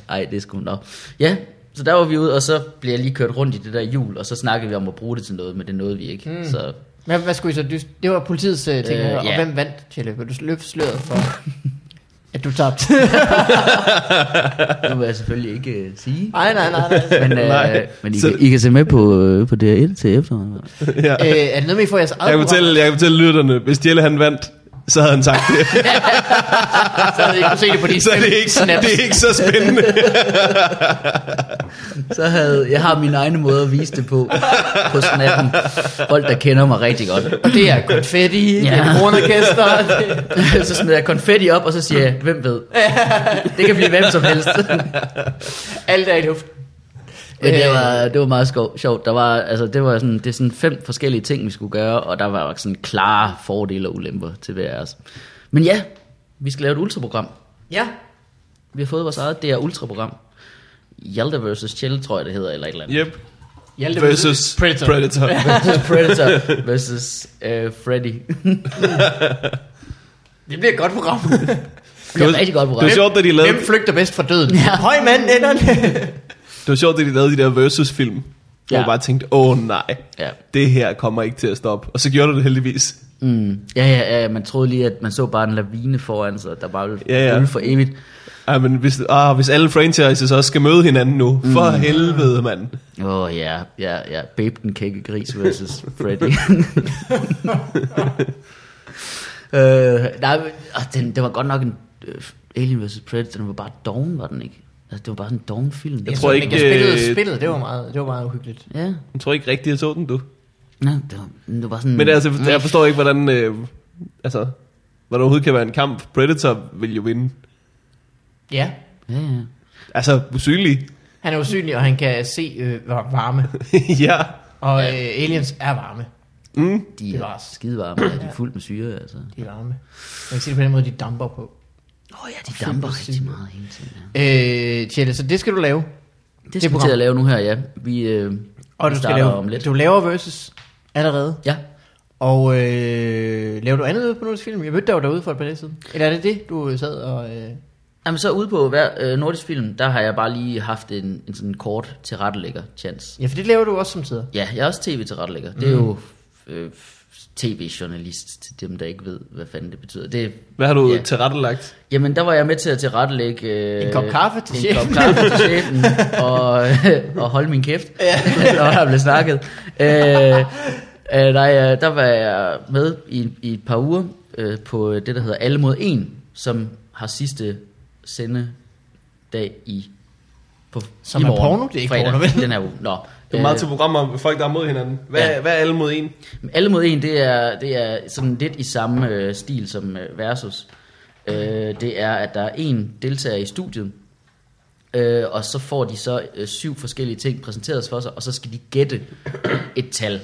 Ej, det er sgu nok. Ja, så der var vi ude, og så blev jeg lige kørt rundt i det der hjul, og så snakkede vi om at bruge det til noget, men det nåede vi ikke. Mm. Så
Hvad, hvad skulle I så dyst? Det var politiets øh, ting,
Øh,
øh, og
ja.
hvem vandt, Tjelle? Vil du løfte sløret for, at du tabte?
det vil jeg selvfølgelig ikke øh,
[laughs]
sige.
nej, nej, nej. nej.
Men, øh,
Nej.
men I,
Så-
kan, I kan se med på, øh, på DR1 til efteråret.
[laughs] ja.
Øh, er det noget med, I får jeres eget
Jeg kan, fortælle, jeg kan fortælle lytterne, hvis Jelle han vandt, så havde han sagt [laughs] det.
program? Så havde I kunne se
[laughs]
det på de
så det er,
fem
ikke, [laughs]
snaps.
det er ikke så spændende.
Så havde, jeg har min egne måde at vise det på, på snappen. Folk, der kender mig rigtig godt. [laughs]
Og det er konfetti, det er
Ja.
kronorkester.
så smider jeg konfetti op, og så siger jeg, hvem
[laughs]
ved? Det kan blive hvem som helst.
Alt er i luft. Øh,
Men
Øh.
det var, det var meget skov, sjovt. Der var, altså, det var sådan, det er sådan fem forskellige ting, vi skulle gøre, og der var sådan klare fordele og ulemper til hver af os. Men ja, vi skal lave et ultraprogram.
Ja.
Vi har fået vores eget DR Ultraprogram. Hjalte vs. Chell, tror jeg, det hedder, eller et eller
[laughs]
andet.
yep.
Hjalte
Versus Predator. Predator.
Predator vs. Uh, Freddy. [laughs]
Det bliver et godt program.
Det var et rigtig godt
Det
program.
var sjovt, da de lavede,
Hvem flygter bedst fra døden?
Ja.
Høj mand, enderne.
det var sjovt, da de, lavede de der versus-film. Ja. Hvor
Ja.
jeg bare tænkte, åh oh, nej,
Ja.
det her kommer ikke til at stoppe. Og så gjorde du det heldigvis.
Mm. Ja, ja, ja, man troede lige, at man så bare en lavine foran sig, der bare ville
Ja, ja.
rulle for evigt.
Ej, men hvis, ah, hvis alle franchises også skal møde hinanden nu. For helvede, mand.
Åh, oh, ja, ja, ja. Babe den kække gris
[laughs]
versus Freddy. øh, nej, men, ah, den, det var godt nok en øh, Alien vs. Predator, den var bare doven, var den ikke? Altså, det var bare sådan en doven film.
Jeg
Jeg
tror
tror
ikke,
ikke, jeg spillede
øh,
spillet, det var meget, det var meget uhyggeligt.
Ja,
Jeg tror ikke rigtigt, jeg så den, du.
Nå, det, var, det var sådan...
Men altså, jeg forstår ikke, hvordan... Øh, altså, hvordan overhovedet kan være en kamp. Predator vil jo vinde.
Ja.
Ja, ja.
Altså, usynlig. [laughs]
Han er usynlig, og han kan se øh, varme.
ja.
Og øh, aliens er varme.
Mm.
De
Det
er
var os.
skidevarme, og de er fuldt med syre, altså.
De er varme. Man kan sige det på den måde, de damper på.
Åh oh, ja, de damper rigtig meget hele tiden. Ja.
Øh, Tjelle, så det skal du lave.
Det skal vi til at lave nu her, ja. Vi, øh, vi
Og du skal
starter
lave,
om lidt.
du laver versus allerede.
Ja,
Og øh, laver du andet ude på Nordisk Film? Jeg mødte dig jo derude for et par dage siden. Eller er det det, du sad og... Øh,
Jamen så ude på hver, øh, Nordisk Film, der har jeg bare lige haft en, en sådan kort tilrettelægger chance.
ja, for det laver du også som tider.
Ja, jeg er også tv-tilrettelægger. Det er jo øh, f- tv-journalist til dem, der ikke ved, hvad fanden det betyder. Det,
Hvad har du
Ja.
yeah. tilrettelagt?
jamen, der var jeg med til at tilrettelægge... Øh,
En kop kaffe til
en
chefen.
kop kaffe til
[laughs]
chefen, og, øh, og holde min kæft, [laughs] ja. når der blev snakket. Øh, øh, nej, øh, der var jeg med i, i et par uger øh, på det, der hedder Alle mod En, som har sidste sendedag i på,
Som
i
er
morgen,
porno? Det er ikke
fredag,
porno, vel?
Den her uge. Nå,
Det er meget til programmer med folk, der er mod hinanden. Hvad,
Øh. Ja.
yeah. hvad er alle mod en?
Men Alle mod en, det er, det er sådan lidt i samme øh, stil som øh, Versus. Øh, det er, at der er en deltager i studiet, øh, og så får de så øh, syv forskellige ting præsenteret for sig, og så skal de gætte et tal.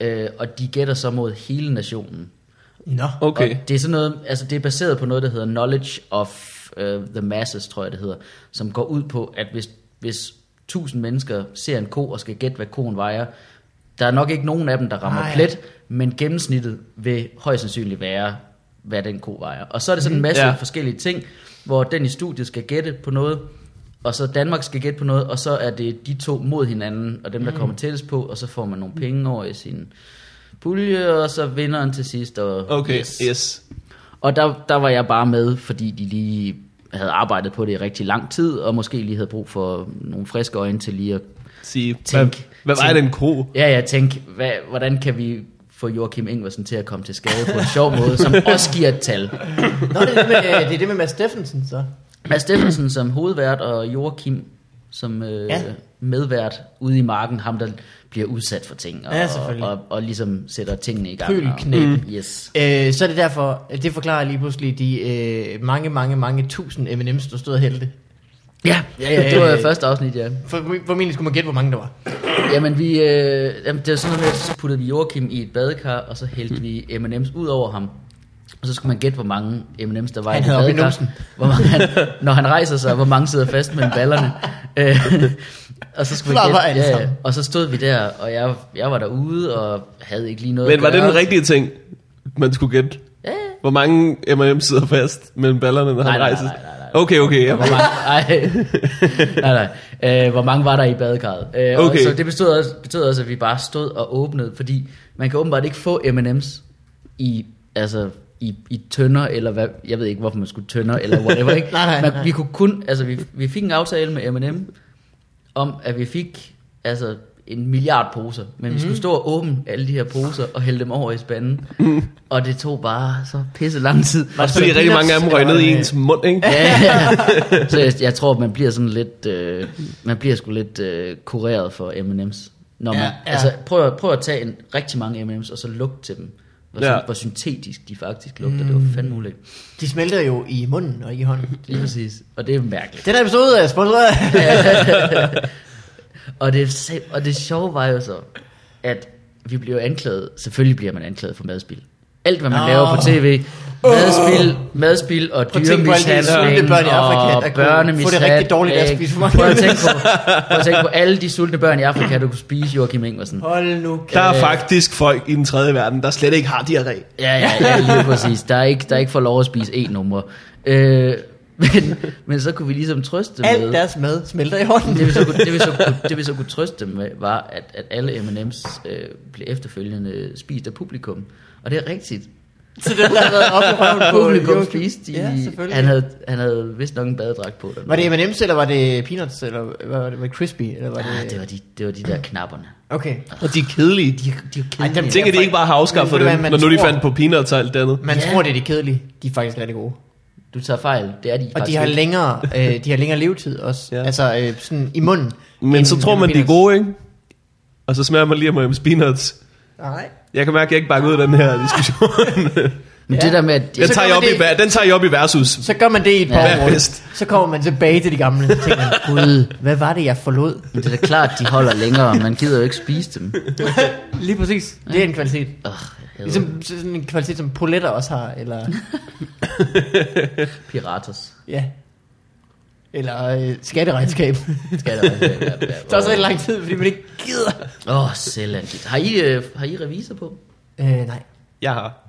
Øh, og de gætter så mod hele nationen.
Nå.
Okay.
Og det er sådan noget, altså det er baseret på noget, der hedder Knowledge of uh, the Masses, tror jeg det hedder, som går ud på, at hvis, hvis 1000 mennesker ser en ko og skal gætte, hvad koen vejer, der er nok ikke nogen af dem, der rammer
Nej.
plet, men gennemsnittet vil højst sandsynligt være, hvad den ko vejer. Og så er det sådan en masse
Mhm. Ja.
ja. forskellige ting, hvor den i studiet skal gætte på noget, og så Danmark skal gætte på noget, og så er det de to mod hinanden, og dem, der kommer tættest på, og så får man nogle penge over i sin pulje, og så vinderen til sidst. Og
Okay, yes. yes.
og der, der var jeg bare med, fordi de lige havde arbejdet på det i rigtig lang tid, og måske lige havde brug for nogle friske øjne til lige at...
Sige, hvad,
Tænk.
hvad var
Tænk.
den kro?
Ja, jeg tænkte, hvad, hvordan kan vi få Joachim Ingvarsen til at komme til skade på en
[laughs]
sjov måde, som også giver et tal.
Nå, det er det med, øh, det, er det med Mads Steffensen, så.
Mads Steffensen som hovedvært, og Joachim som øh,
Ja.
ja. medvært ude i marken, ham der bliver udsat for ting, og,
Ja, selvfølgelig.
og, og, og ligesom sætter tingene i gang.
Pøbelknæb.
Og, Mm. yes.
Øh, så er det derfor, øh, det forklarer lige pludselig de øh, mange, mange, mange tusind M&M's, der stod og hældte.
Ja, ja, ja, det var
Øh. [laughs]
første afsnit, ja.
For, formentlig skulle man gætte, hvor mange der var.
Jamen, vi, øh, jamen, det var sådan noget med, at så puttede vi Joachim i et badekar, og så hældte vi M&M's ud over ham. Og så skulle man gætte, hvor mange M&M's der var
Han
i det
havde op i
badekar.
numsen.
Hvor mange han, når han rejser sig, hvor mange sidder fast mellem ballerne. Øh, og så skulle man
Flapper alle
gætte. Ja, ja.
sammen.
og så stod vi der, og jeg, jeg var derude, og havde ikke lige noget
Men var
at
det
gøre.
den rigtige ting, man skulle gætte?
Ja, ja.
Hvor mange M&M sidder fast mellem ballerne, når
Nej,
han
nej,
rejser?
nej, nej, nej.
Okay, okay. Ja.
Hvor mange, ej, nej, nej. Øh, hvor mange var der i badekarret? Øh, og
Okay.
Så det betød også, betød også, at vi bare stod og åbnede, fordi man kan åbenbart ikke få M&M's i, altså, i, i tønder, eller hvad, jeg ved ikke, hvorfor man skulle tønder, eller whatever, ikke?
Nej, nej,
Men
nej.
vi kunne kun, altså, vi, vi fik en aftale med M&M om, at vi fik, altså, en milliard poser, men mm. vi skulle stå og åbne alle de her poser og hælde dem over i spanden, mm. og det tog bare så pisse lang tid.
Også fordi rigtig mange af dem røg ned i ens mund, ikke?
Ja, ja. Så jeg, jeg tror, man bliver sådan lidt, øh, man bliver sgu lidt øh, kureret for M&M's. Når man, ja,
Ja, ja.
ja. Altså, prøv, at, prøv at tage en, rigtig mange M&M's og så lugte til dem. Hvor, ja.
Ja.
hvor syntetisk de faktisk lugter. Mm. Det var fandme muligt.
De smelter jo i munden og ikke i hånden.
Lige præcis. Og det er mærkeligt.
Den her episode er sponsoreret.
Og det, se- og det sjove var jo så, at vi blev anklaget. Selvfølgelig bliver man anklaget for madspil. Alt, hvad man
Nå.
oh. laver på tv. Madspil, madspil og
Prøv at tænke på alle de sultne
dyremishandling
børn i Afrika,
og
der kunne
børnemishandling.
få det rigtig dårligt af at spise for meget.
Prøv at tænke på, prøv at tænke på alle de sultne børn i Afrika, du kunne spise, Joachim Ingvarsen.
[laughs] Hold nu.
Der er
Øh.
faktisk folk i den tredje verden, der slet ikke har diarré.
Ja, ja, ja, lige præcis. Der er ikke, der er ikke for lov at spise én numre. Øh, men, men så kunne vi ligesom trøste dem med...
Alt deres mad smelter i hånden.
det, vi så kunne, det, vi så kunne, det vi så kunne trøste dem med, var, at, at alle M&M's øh, blev efterfølgende spist af publikum. Og det er rigtigt.
Så det har været op i røven på
Publikum
Joachim.
spiste i,
Ja, selvfølgelig.
han, havde, han havde vist nok en badedragt på.
Var det M&M's, eller var det Peanuts, eller hvad var det, var det Crispy? Eller var det...
Ah, det, var de, det var de der knapperne.
Okay.
Og de er kedelige.
De, de var
Ej, dem
kedelige.
Tænk, at de ikke bare har afskaffet
Men ved du
dem,
hvad,
når
man
nu de
tror-
fandt på peanuts og alt det andet.
Man
Ja.
tror, det er de kedelige. De er faktisk rigtig gode.
Du tager fejl. Det er de
Og de
faktisk
har
ikke.
længere, øh, de har længere levetid også. [laughs] Ja.
Ja.
Altså øh, sådan i munden.
Men
end-
så tror
end
man, de er
Peanuts.
gode, ikke? Og så smager man lige af M&M's peanuts.
Nej.
Jeg kan mærke, at jeg ikke bakker ud af den her
[laughs]
diskussion.
Men det der med, at
Den
Så
tager,
gør
jeg op
man
i,
det-
ver- den tager jeg op i versus.
Så gør man det i et par
Hvad er
år.
bedst?
Så kommer man tilbage til de gamle. Så tænker man, gud, hvad var det, jeg forlod?
Men det er da klart, de holder længere. Man gider jo ikke spise dem.
[laughs] Lige præcis. Det er en kvalitet.
Ugh, jeg ligesom
Ligesom sådan en kvalitet, som poletter også har, eller...
piraters.
Ja. Eller øh, skatteregnskab. [laughs]
Skal der også være- være-
det er også
være-
rigtig lang tid, fordi man ikke gider.
Åh, oh, selvangivt. Har I, øh, har I revisor på?
Øh, nej.
Jeg har.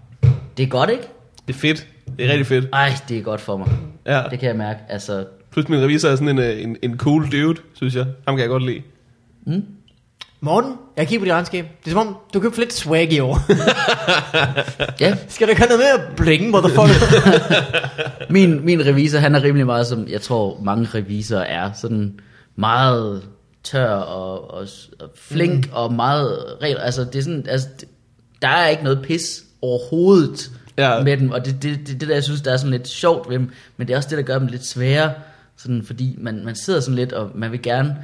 Det er godt, ikke?
Det er fedt. Det er rigtig fedt.
Ej, det er godt for mig.
Ja.
Det kan jeg mærke. Altså,
Plus min revisor er sådan en, øh, en, en cool dude, synes jeg. Ham kan jeg godt lide.
Morten, jeg kigger på dit regnskab. Det er som om, du købte lidt swag i år. [laughs]
Ja,
Skal du gøre noget mere at blinge, [laughs] motherfucker?
min, min revisor, han er rimelig meget, som jeg tror mange revisorer er. Sådan meget tør og, og, og flink mm. og meget regel. Altså, det er sådan, altså, det- der er ikke noget pis overhovedet
Ja.
ja. med dem. Og det, det, det, det, der jeg synes, der er sådan lidt sjovt ved dem. Men det er også det, der gør dem lidt svære. Sådan, fordi man, man sidder sådan lidt, og man vil gerne...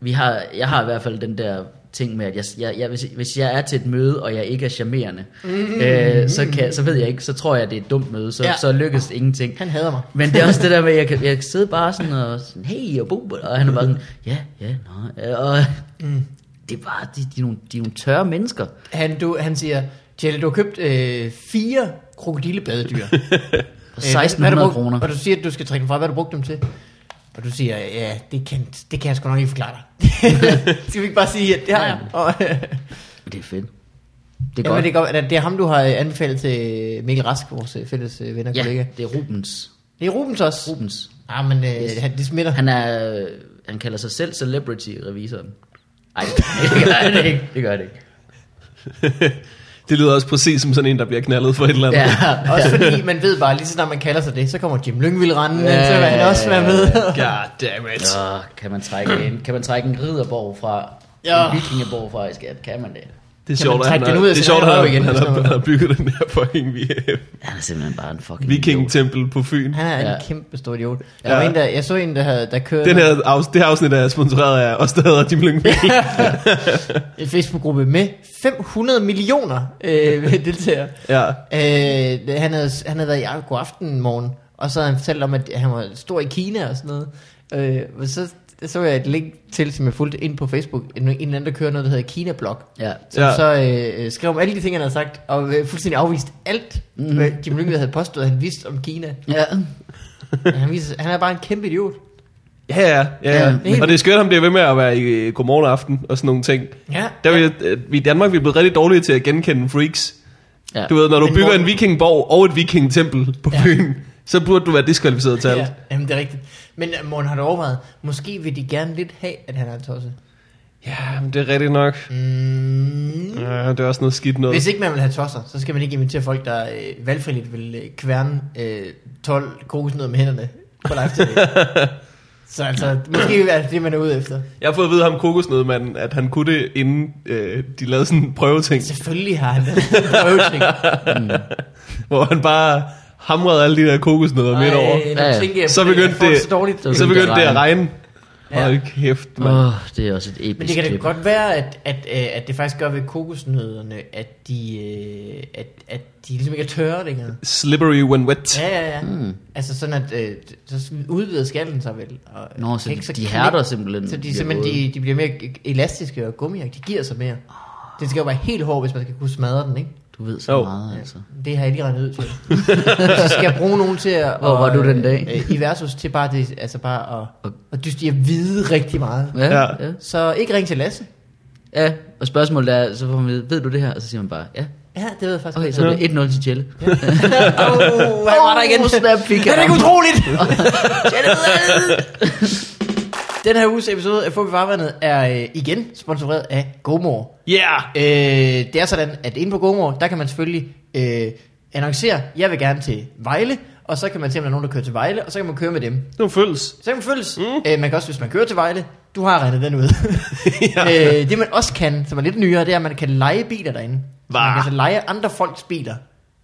Vi har, jeg har i hvert fald den der ting med, at jeg, jeg, jeg, hvis, hvis jeg er til et møde, og jeg ikke er charmerende, øh, så, kan, så ved jeg ikke, så tror jeg, det er et dumt møde, så,
Ja.
ja. så lykkes ingenting.
Han hader mig.
Men det er også det der med, at jeg kan, jeg kan sidde bare sådan og sådan, hey, og bo, og han er bare sådan, ja, ja, nej, øh, og
Mm.
det er bare, de, de, er nogle, de er nogle tørre mennesker.
Han, du, han siger, Jelle, du har købt øh, fire
[laughs]
krokodillebadedyr.
For
Øh, hvad- hvad har
1600
du brugt-
kroner.
Og du siger, at du skal trække dem fra. Hvad har du brugt dem til? Og du siger, ja, det kan, det kan jeg sgu nok ikke forklare dig. [laughs] skal vi ikke bare sige, at det har jeg? Og,
Men Det er fedt. Det er
ja, men
godt.
det, er godt, at det er ham, du har øh, anbefalet til Mikkel Rask, vores øh, fælles øh, ven og kollega.
Ja, det er Rubens.
Det er Rubens også.
Rubens.
Ja, men øh, han, det smitter.
Han, er, øh, han kalder sig selv celebrity-revisoren. Ej, det gør
[laughs]
det ikke. Det gør det ikke.
det lyder også præcis som sådan en, der bliver knaldet for et eller andet.
Ja,
Også fordi man ved bare, lige så snart man kalder sig det, så kommer Jim Lyngvild rendende,
Ja,
så vil han
ja,
også
ja,
være med.
[laughs] God damn it.
Åh, kan man trække en, kan man trække en ridderborg fra,
Ja.
ja. en vikingeborg fra, i skat? Kan man det?
Det er sjovt, at han,
trække
har,
den ud af
det er
sin
sjovt, at
egen røv
han,
igen,
igen, han,
hvis
har,
man-
han har bygget den der fucking vi-
Han er simpelthen bare en fucking idiot.
viking-tempel på Fyn.
Han er en
Ja.
kæmpe stor idiot. Der
Ja.
var en, der, jeg så en, der, havde, der kørte...
Den her, afs- det her afsnit er sponsoreret af os, der hedder Jim Lyngby.
en Facebook-gruppe med 500 millioner øh, [laughs] deltagere.
ja.
Øh, han, havde, han havde været i Argo Aften morgen, og så havde han fortalt om, at han var stor i Kina og sådan noget. Øh, og så så jeg et link til, som jeg fulgte ind på Facebook, en, en eller anden, der kører noget, der hedder Kina-blog,
Ja.
som
Ja.
ja. så øh, øh, skrev om alle de ting, han havde sagt, og øh, fuldstændig afvist alt, mm. hvad Jim Lyngvild havde påstået, at han vidste om Kina.
Ja.
han, viser, han er bare en kæmpe idiot.
Ja, ja, ja,
Ja,
ja.
helt
Og det er skørt, om det er ved med at være i øh, godmorgen og aften og sådan nogle ting.
Ja,
Der er vi, øh, vi i Danmark vi er blevet rigtig dårlige til at genkende freaks.
ja.
Du ved, når du
Men
bygger
hvor-
en vikingborg og et vikingtempel på
Ja.
Fyn, så burde du være diskvalificeret til alt.
ja, jamen, det er rigtigt. Men øh, Morten har du overvejet, måske vil de gerne lidt have, at han er en tosse.
Ja, men det er rigtigt nok.
Mm.
Ja, det er også noget skidt noget.
Hvis ikke man vil have tosser, så skal man ikke invitere folk, der øh, valgfriligt vil øh, kværne øh, 12 kokosnødder med hænderne på live
[laughs]
TV. så altså, måske er det det, man er ude efter.
Jeg har fået at vide af ham kokosnødmanden, at han kunne det, inden øh, de lavede sådan en prøveting,
Selvfølgelig har [laughs] han det. Prøveting.
hvor han bare hamrede alle de der kokosnødder midt over.
Ja, ja.
tænker jeg
Så
på det. Jeg
begyndte
får
det-
så dårligt.
Så begyndte det at regne.
Ja.
Hold kæft, mand.
Åh, det er også et episk
Men det kan da
klip.
godt være, at, at, øh, at det faktisk gør ved kokosnødderne, at de, øh, at, at de ligesom ikke er tørre længere.
Slippery when wet.
Ja, ja, ja.
Mm.
Altså sådan, at øh, så udvider skallen sig vel. Og,
Nå, så
kan ikke
de, de
knække-
hærder simpelthen.
Så de,
bliver
simpelthen,
våde.
de, de bliver mere elastiske og gummier. De giver sig mere.
Ah.
Det skal jo være helt hårdt, hvis man skal kunne smadre den, ikke?
Du ved så
Jo.
meget, altså.
Det har jeg lige regnet ud
[laughs]
til. så skal jeg bruge nogen til at...
Hvor var du den dag?
øh, I versus til bare, det, altså bare at,
Og-
at dyste i at vide rigtig meget.
Ja,
Ja.
ja. ja.
Så ikke ring til Lasse.
ja. og spørgsmålet er, så får man ved, ved du det her? Og så siger man bare, ja.
Ja, det ved jeg faktisk
Okay,
godt.
så er det 1-0 til Jelle.
Åh, hvad var der igen?
Åh, snap, fik jeg
er det ikke
ham.
utroligt? den her uges episode af Få Farvandet er øh, igen sponsoreret af GoMore.
Yeah!
Øh, det er sådan, at inde på GoMore, der kan man selvfølgelig øh, annoncere, jeg vil gerne til Vejle, og så kan man se, om der er nogen, der kører til Vejle, og så kan man køre med dem.
Nu føles.
Så kan man følges. Mm. Øh, man kan også, hvis man kører til Vejle, du har regnet den ud. [laughs] ja. øh, det man også kan, som er lidt nyere, det er, at man kan lege biler derinde. Så
Hva?
Man kan altså lege andre folks biler.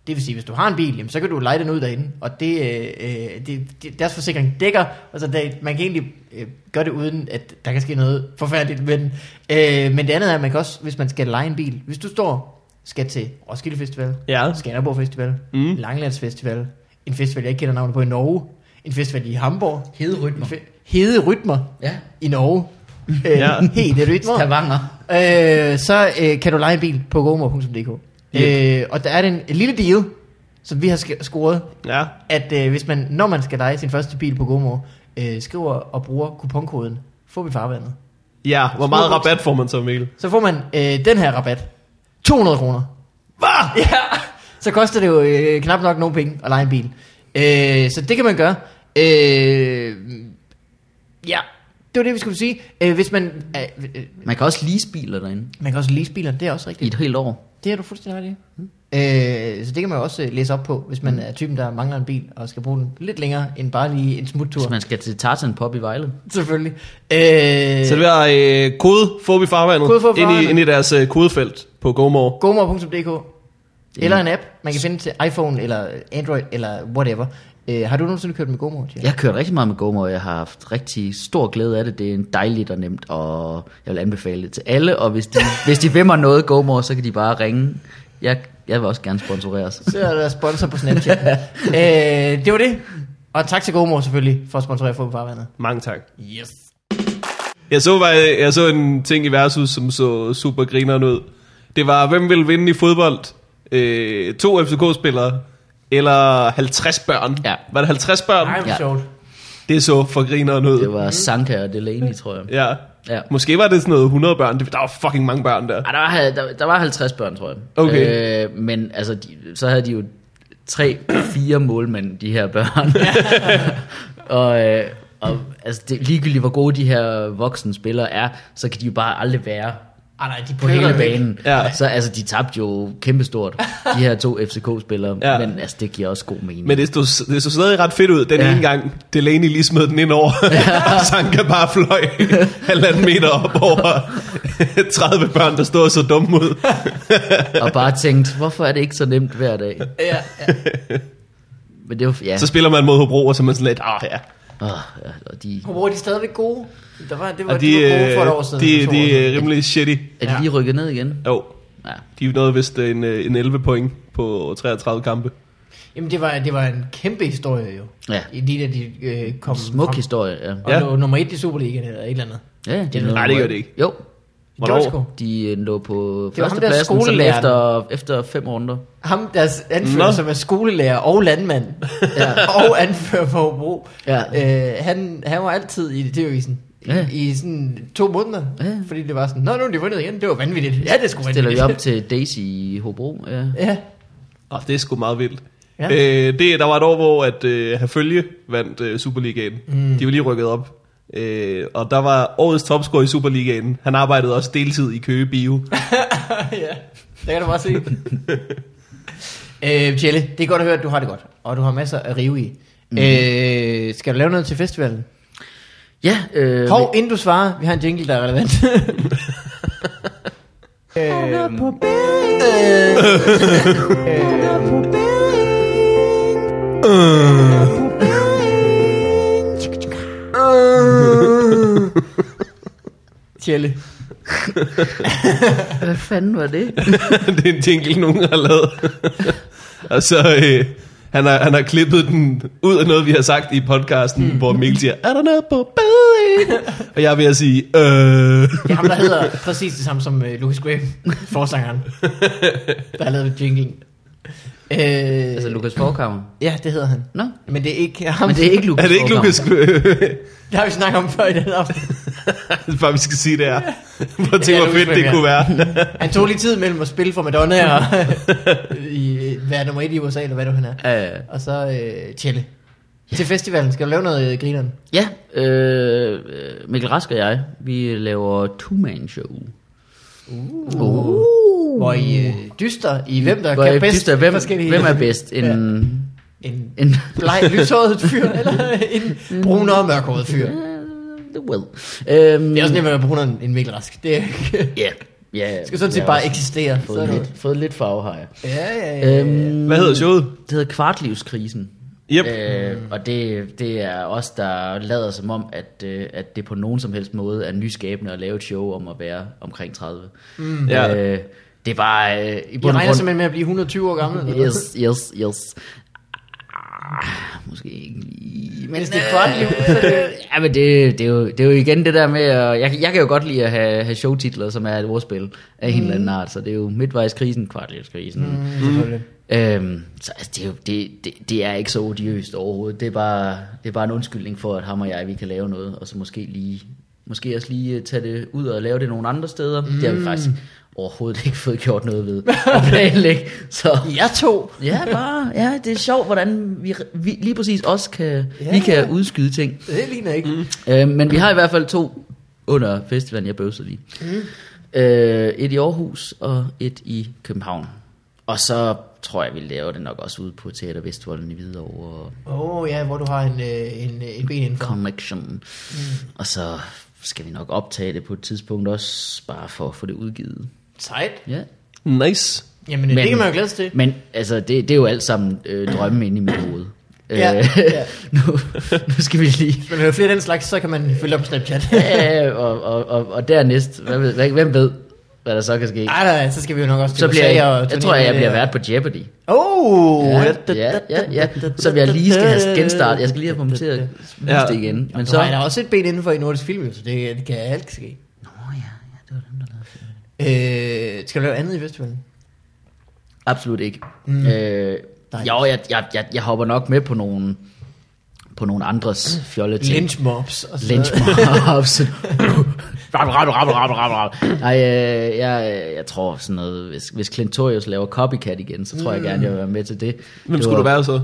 Det vil sige, hvis du har en bil, jamen, så kan du lege den ud derinde, og det, øh, øh, det, det deres forsikring dækker, og så det, man kan egentlig øh, gøre det uden, at der kan ske noget forfærdeligt med den. Øh, men det andet er, at man kan også, hvis man skal lege en bil, hvis du står, skal til Roskilde Festival,
Ja.
Skanderborg Festival,
Mm.
mm. Langlands Festival, en festival, jeg ikke kender navnet på i Norge, en festival i Hamburg,
Hede rytmer.
Fe- Hede rytmer
Ja.
i Norge.
Ja.
ja. Hede rytmer.
Stavanger.
Øh, så øh, kan du lege en bil på gomor.dk. Øh, og der er den en lille deal, som vi har sk- scoret,
Ja.
at øh, hvis man, når man skal lege sin første bil på Gomor, øh, skriver og bruger kuponkoden, får vi farvandet.
Ja, hvor meget rabat får man så, Mikkel?
Så får man øh, den her rabat. 200 kroner.
Hvad?
Ja, så koster det jo øh, knap nok nogen penge at lege en bil. Øh, så det kan man gøre. Øh, ja, det var det, vi skulle sige. Øh, hvis man, øh, øh,
Man kan også lease biler derinde
man kan også lease biler, det er også
i
rigtigt.
et helt år.
Det har du fuldstændig ret i.
Mm.
Øh, så det kan man jo også øh, læse op på, hvis man er typen, der mangler en bil, og skal bruge den lidt længere, end bare lige en smuttur.
Hvis man skal til Tarzan Pop i Vejle.
Selvfølgelig. Øh,
Så det er øh, kode Fobi
Kode Fobi
Farvandet ind
Farvandet.
i, ind i deres øh, kodefelt på GoMore.
gomor.dk eller
Mm.
en app, man kan finde til iPhone eller Android eller whatever. Øh, har du nogensinde kørt med GoMore, Thierry?
Jeg har kørt rigtig meget med GoMore, og jeg har haft rigtig stor glæde af det. Det er en dejligt og nemt, og jeg vil anbefale det til alle. Og
[laughs]
hvis de, hvis de vimmer noget GoMore, så kan de bare ringe. Jeg, jeg vil også gerne sponsoreres.
Så er der sponsor på
[laughs]
Snapchat. øh, det var det. Og tak til GoMore selvfølgelig for at sponsorere Fodbold Farvandet.
Mange tak.
Yes.
Jeg så, var, jeg så en ting i Versus, som så super grineren ud. Det var, hvem vil vinde i fodbold? Øh, to FCK-spillere eller 50 børn?
Ja.
Var det 50 børn?
Nej, hvor
Ja.
sjovt.
Det så for grineren ud.
Det var Sanka og Delaney, tror jeg.
Ja.
Ja.
Måske var det sådan noget 100 børn. Det- Der var fucking mange børn der.
Ej, der, var, der, der var 50 børn, tror jeg.
Okay.
Øh, men altså, de, så havde de jo tre, fire målmænd, de her
[laughs]
børn. og, øh, og altså, det, ligegyldigt hvor gode de her voksne spillere er, så kan de jo bare aldrig være
Ah, nej, de
på hele banen.
Ja.
Så altså, de tabte jo kæmpestort, de her to FCK-spillere.
Ja.
Ja. Men altså, det giver også god mening.
Men det stod, det stod stadig ret fedt ud den ja.
Ja.
ene gang. Delaney lige smed den ind over, [laughs] og Sanka bare fløj halvanden meter op over [laughs] 30 børn, der stod og så dumme ud.
Og bare tænkt, hvorfor er det ikke så nemt hver dag?
Ja, ja.
Men det var, ja.
Så spiller man mod Hobro, og så er man sådan lidt, ah ja.
Åh, ja, og de
Hvor er de stadigvæk gode? Der var, det var,
Og øh,
de, de var gode for et år siden.
de,
to år
de
siden.
er rimelig shitty.
er de
Ja.
lige rykket ned igen.
Jo,
Ja.
de er noget vist en, øh, en 11 point på 33 kampe.
Jamen, det var, det var en kæmpe historie jo.
Ja.
I de der, de øh, kom
Smuk
frem.
historie, ja.
Og
Ja.
ja. lå nummer et i Superligaen eller et eller andet.
Ja, de
Det-
lå
Nej, det gør det ikke.
Jo,
Det gjorde
Hvornår?
sgu.
de øh, lå på
Det var ham der
førstepladsen sådan
skolelæreren.
efter, efter fem runder.
Ham, deres anfører,
Nå.
Nå. som er skolelærer og landmand, ja. og anfører for Hobro,
Ja.
øh, han, han var altid i det
Ja.
ja. i sådan to måneder,
Ja.
ja. fordi det var sådan, nå, nu er de vundet igen, det var vanvittigt. Ja, det skulle
Stiller
vanvittigt.
vi op til Daisy i Hobro. Ja.
[laughs] ja.
Oh, det er sgu meget vildt. Ja.
Ja.
Øh, det, der var et år, hvor at, øh, Herfølge vandt øh, Superligaen. Mm. De var lige rykket op. Øh, og der var årets topscorer i Superligaen. Han arbejdede også deltid i Køge Bio. [laughs]
ja, det kan du bare se. øh, Tjelle, det er godt at høre, at du har det godt, og du har masser at rive i. Mm. Øh, skal du lave noget til festivalen?
ja øh,
Hov, inden du svarer, vi har en jingle, der er relevant. øhm,
Øh,
Tjelle.
[laughs] Hvad fanden var det?
det er en jingle, nogen har lavet. [laughs] og så... Øh, han har, han har klippet den ud af noget, vi har sagt i podcasten, mm. hvor Mikkel siger, er der noget på bedring? og jeg er ved at sige, øh.
Det er ham, der hedder præcis det samme som øh, Lucas Graham, forsangeren, der har lavet jinglen. Øh,
altså Lukas Forkammer.
ja, det hedder han.
Nå,
Men det er ikke ham.
men det er ikke Lukas
Er det ikke
Forchhammer.
Lukas?
Det har vi snakket om før i den aften.
[laughs] Bare vi skal sige det her. Hvor
Ja,
tænk, hvor
Lukas
fedt det
Graham,
kunne være.
[laughs] Han tog lige tid mellem at spille for Madonna og i, øh, være nummer et i USA, eller hvad du han er.
Ja, ja.
Og så øh, Tjelle. Til festivalen, skal du lave noget øh, grineren?
Ja, øh, øh, Mikkel Rask og jeg, vi laver two-man-show. Uh. Uh.
Hvor I øh, dyster i hvem, der
Hvor
kan
jeg
bedst
dyster, hvem,
forskellige...
hvem er bedst? En,
Ja. En
[laughs] en,
bleg, lyshåret fyr, eller en brun og mørkhåret fyr.
well. Øhm,
Det er også nemt at være brunere end Mikkel Rask. Det er,
Ja, ja.
skal sådan set
jeg
bare
har også
eksistere. Så er
Fået
det-
lidt, fået lidt farve har jeg.
Ja, ja, ja.
Øhm,
Hvad hedder showet?
Det hedder Kvartlivskrisen.
Yep.
Øh, og det, det er os, der lader som om, at, øh, at det på nogen som helst måde er nyskabende at lave et show om at være omkring 30. Mm.
Ja.
Øh, det er bare... Øh, I
Jeg
bund og
regner
grund...
simpelthen med at blive 120 år gammel. eller hvad?
Yes, yes, yes. Ah, måske ikke lige... Men øh,
Hvis det er kvartliv, så er det-
[laughs] ja, men det, det, er jo, det er jo igen det der med, at jeg, jeg kan jo godt lide at have, have showtitler, som er et ordspil af en
Mm.
eller anden art, så det er jo midtvejskrisen, kvartlivskrisen. Mm.
Selvfølgelig.
Øhm, så altså, det, er jo, det, det, det er ikke så odiøst overhovedet. Det er, bare, det er bare en undskyldning for, at ham og jeg, vi kan lave noget, og så måske lige måske også lige øh, tage det ud og lave det nogle andre steder. Mm. Det har vi faktisk overhovedet ikke fået gjort noget ved at planlægge. [laughs] Så
Jeg to.
ja, bare, ja, det er sjovt, hvordan vi, vi lige præcis også kan, ja. vi kan udskyde ting.
Det ligner ikke. Mm.
Øh, men vi har i hvert fald to under festivalen, jeg bøvsede lige. Mm. Øh, et i Aarhus og et i København. Og så tror jeg, vi laver det nok også ude på Teater Vestvolden i Hvidovre og
Åh oh, ja, hvor du har en, øh, en, en ben indenfor.
Connection. Mm. Og så skal vi nok optage det på et tidspunkt også, bare for at få det udgivet.
Sejt.
Ja.
Nice.
Jamen, Men, det kan man jo glæde sig til.
Men altså, det, det er jo alt sammen øh, drømme inde i mit hoved.
Ja,
Øh, [laughs]
ja.
nu, nu skal vi [laughs] lige
Men hører flere af den slags, så kan man følge op på Snapchat.
Ja, og, og, og, og dernæst, hvad ved, hvad- hvem ved, hvad der så kan ske?
[laughs] Ej, nej, så skal vi jo nok også til
Så bliver
USA
jeg,
og
jeg tror, jeg
turné-
bliver vært på Jeopardy.
Oh!
Ja, ja, ja, ja. Som jeg lige skal have genstart. Jeg skal lige have punkteret
Ja.
det igen. Men
Så
så...
har jeg da også et ben indenfor i nordisk film, jo, så det, det kan alt ske.
Nå ja, ja, det var dem, der lavede det.
Øh, skal du lave andet i festivalen?
Absolut ikke. Mm. Øh,
Nej.
jo, jeg, jeg, jeg, jeg hopper nok med på nogle, på nogle andres fjolle ting.
Lynch mobs. Og
[laughs]
sådan
Lynch
noget.
mobs. Rap, rap, rap, rap, rap, rap. Nej, øh, jeg, jeg tror sådan noget, hvis, hvis Clintorius laver copycat igen, så tror jeg gerne, jeg vil være med til det.
Mm. Hvem
det
skulle
var,
du være så?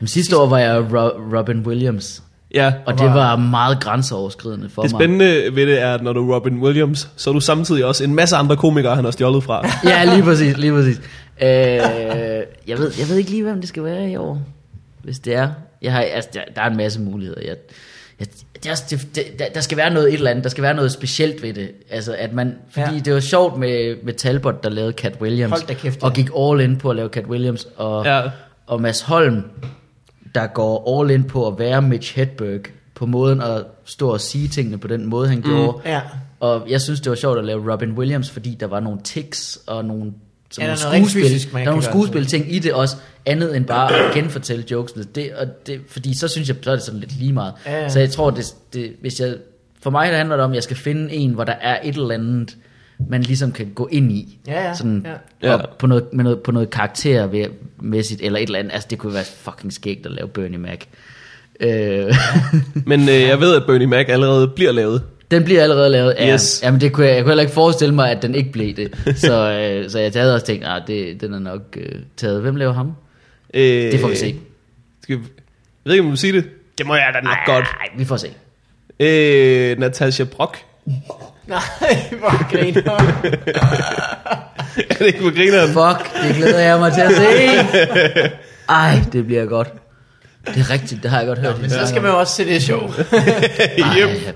Jamen, sidste år var jeg Ro- Robin Williams,
Ja.
og det var meget grænseoverskridende for
Det
mig.
spændende ved det er, at når du er Robin Williams, så er du samtidig også en masse andre komikere, han har stjålet fra.
ja, lige præcis, lige
[laughs]
præcis. Øh, jeg, ved, jeg ved ikke lige, hvem det skal være i år, hvis det er. Jeg har, altså, der, der er en masse muligheder. Jeg, jeg, det er også, det, det, der- der skal være noget et eller andet, der skal være noget specielt ved det. Altså, at man, fordi
Ja.
ja. det var sjovt med, med Talbot, der lavede Cat Williams.
Hold da kæft, ja.
Og gik all in på at lave Cat Williams. Og,
Ja.
og Mads Holm, der går all in på at være Mitch Hedberg, på måden at stå og sige tingene på den måde, han gjorde.
Mm, Ja.
Og jeg synes, det var sjovt at lave Robin Williams, fordi der var nogle tics og nogle,
Ja,
sådan
der
nogle
er noget rent
skuespil,
fysisk, man
der er
kan
nogle
gøre.
skuespil ting i det også, andet end bare at genfortælle jokesene. Det, og det, fordi så synes jeg, så er det sådan lidt lige meget.
Ja, ja.
Så jeg tror, det, det, hvis jeg, for mig der handler det om, at jeg skal finde en, hvor der er et eller andet, man ligesom kan gå ind i.
Ja, ja,
sådan,
ja.
Og på noget, med noget, på noget karaktermæssigt eller et eller andet. Altså, det kunne være fucking skægt at lave Bernie Mac. [laughs] Øh,
Men øh, jeg ved, at Bernie Mac allerede bliver lavet.
Den bliver allerede lavet. Ja,
Yes.
Jamen, det kunne jeg, jeg kunne heller ikke forestille mig, at den ikke
[laughs]
blev det. Så, øh, så jeg havde også tænkt, at det, den er nok øh, taget. Hvem laver ham?
Øh,
Det får vi se.
Skal vi, jeg ved ikke, om du sige det. Det må jeg da nok godt.
Nej, vi får se.
Øh, Natasha Brock. [laughs]
Nej, [laughs] hvor griner.
er det ikke på grineren?
Fuck, det glæder jeg mig til at
[laughs]
se. Ej, det bliver godt. Det er rigtigt, det har jeg godt hørt.
Men så skal man jo også se det show.
Yep.
Ej, ja.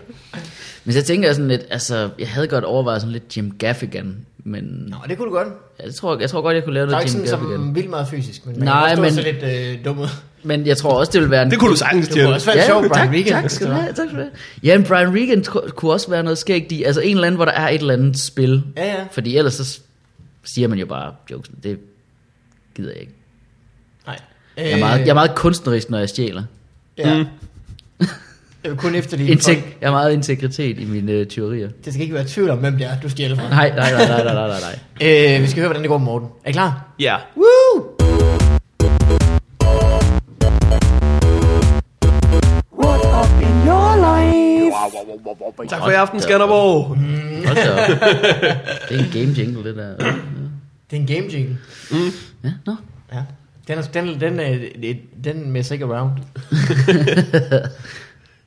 Men så tænker jeg sådan lidt, altså, jeg havde godt overvejet sådan lidt Jim Gaffigan, men
Nå, det kunne du godt.
jeg tror, jeg tror godt, jeg kunne lave
Der er
noget
ikke
Jim
sådan
Gaffigan.
som vildt meget fysisk, men man
Nej,
kan
men-
også stå så lidt øh, dum ud.
Men jeg tror også, det ville være en
Det kunne du sagtens,
Det kunne
Tjerne.
også være ja, sjovt, Brian altså.
tak,
Weekend.
Tak skal du have, tak skal du have. Ja, men Brian Regan tro- kunne også være noget skægt i, altså en eller anden, hvor der er et eller andet spil.
Ja, ja.
Fordi ellers så s- siger man jo bare jokes. Det gider jeg ikke.
Nej. Øh,
Jeg er meget, jeg er Mm. meget kunstnerisk, når jeg stjæler.
Ja. Jeg vil kun efterligne
Integ-
folk.
jeg har meget integritet i mine øh, teorier.
Det skal ikke være tvivl om, hvem det er, du stjæler fra.
Nej, nej, nej, nej, nej, nej, nej, nej.
Øh, vi skal høre, hvordan det går med Morten. Er I klar?
Ja.
Woo!
What up in your life?
Tak for i aften, Skanderborg.
Hold da op. Det er en game jingle, det der.
Det er en game jingle.
Ja, nå.
Ja. Den, er, den, den, den, den messer ikke around.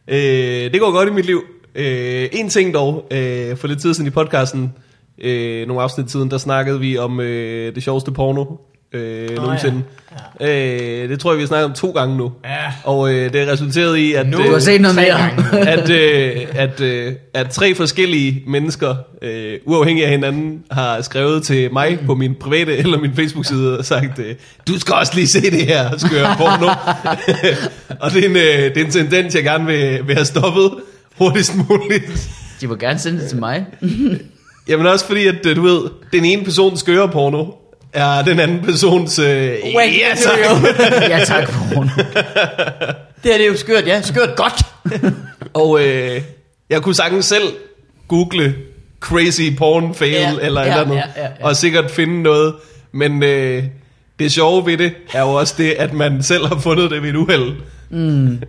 Øh, det går godt i mit liv. Øh, en ting dog, øh, for lidt tid siden i podcasten, øh, nogle afsnit siden, der snakkede vi om øh, det sjoveste porno øh, oh, nogensinde. Ja. Øh, det tror jeg, vi har snakket om to gange nu.
Ja.
Og øh, det resulterede i, at... øh,
Nu-
Du har set noget
Tre
mere.
gange.
at, øh, at, øh, at tre forskellige mennesker, øh, uafhængig af hinanden, har skrevet til mig på min private eller min Facebook-side og sagt, øh, du skal også lige se det her skøre porno. [laughs] og det er, en, øh, det er en tendens, jeg gerne vil, vil have stoppet hurtigst muligt.
De må gerne sende det til mig.
Jamen også fordi, at øh, du ved, den ene persons skøre porno er den anden persons... Øh, ja, tak.
[laughs] Ja, tak for rundt.
Det her det er jo skørt, ja. Skørt godt.
Og øh, jeg kunne sagtens selv google crazy porn fail
Ja,
ja, eller
ja,
et eller andet,
ja, ja, ja.
og sikkert finde noget. Men øh, det sjove ved det er jo også det, at man selv har [laughs] fundet det ved et uheld. Mm.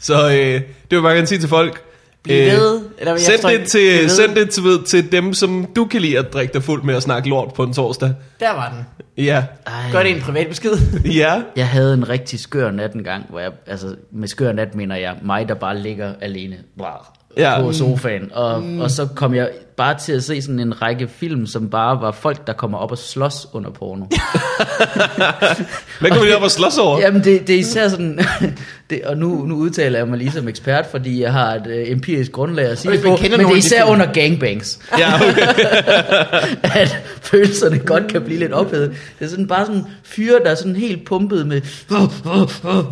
Så øh, det vil jeg bare gerne sige til folk.
Bliv
Øh,
ved. Eller, jeg
Send
forstår
det,
ikke. Bliv
til,
ved.
send det til, ved, til dem, som du kan lide at drikke dig fuld med og snakke lort på en torsdag.
Der var den.
Ja,
Ej.
Gør det i en privat besked.
ja.
Jeg havde en rigtig skør nat en gang, hvor jeg, altså med skør nat mener jeg mig, der bare ligger alene blah,
Ja.
ja. på sofaen. Og, mm. og så kom jeg bare til at se sådan en række film, som bare var folk, der kommer op og slås under porno.
Hvad kan vi lige op og slås over?
Jamen det, det er især sådan, [laughs] det, og nu, nu udtaler jeg mig lige som ekspert, fordi jeg har et øh, empirisk grundlag at sige
Og
det
hvis man
på,
kender
men det
nogle
er
af de
især
film.
under gangbangs.
Ja, okay.
at følelserne godt kan blive lidt ophedet. Det er sådan bare sådan fyre, der er sådan helt pumpet med,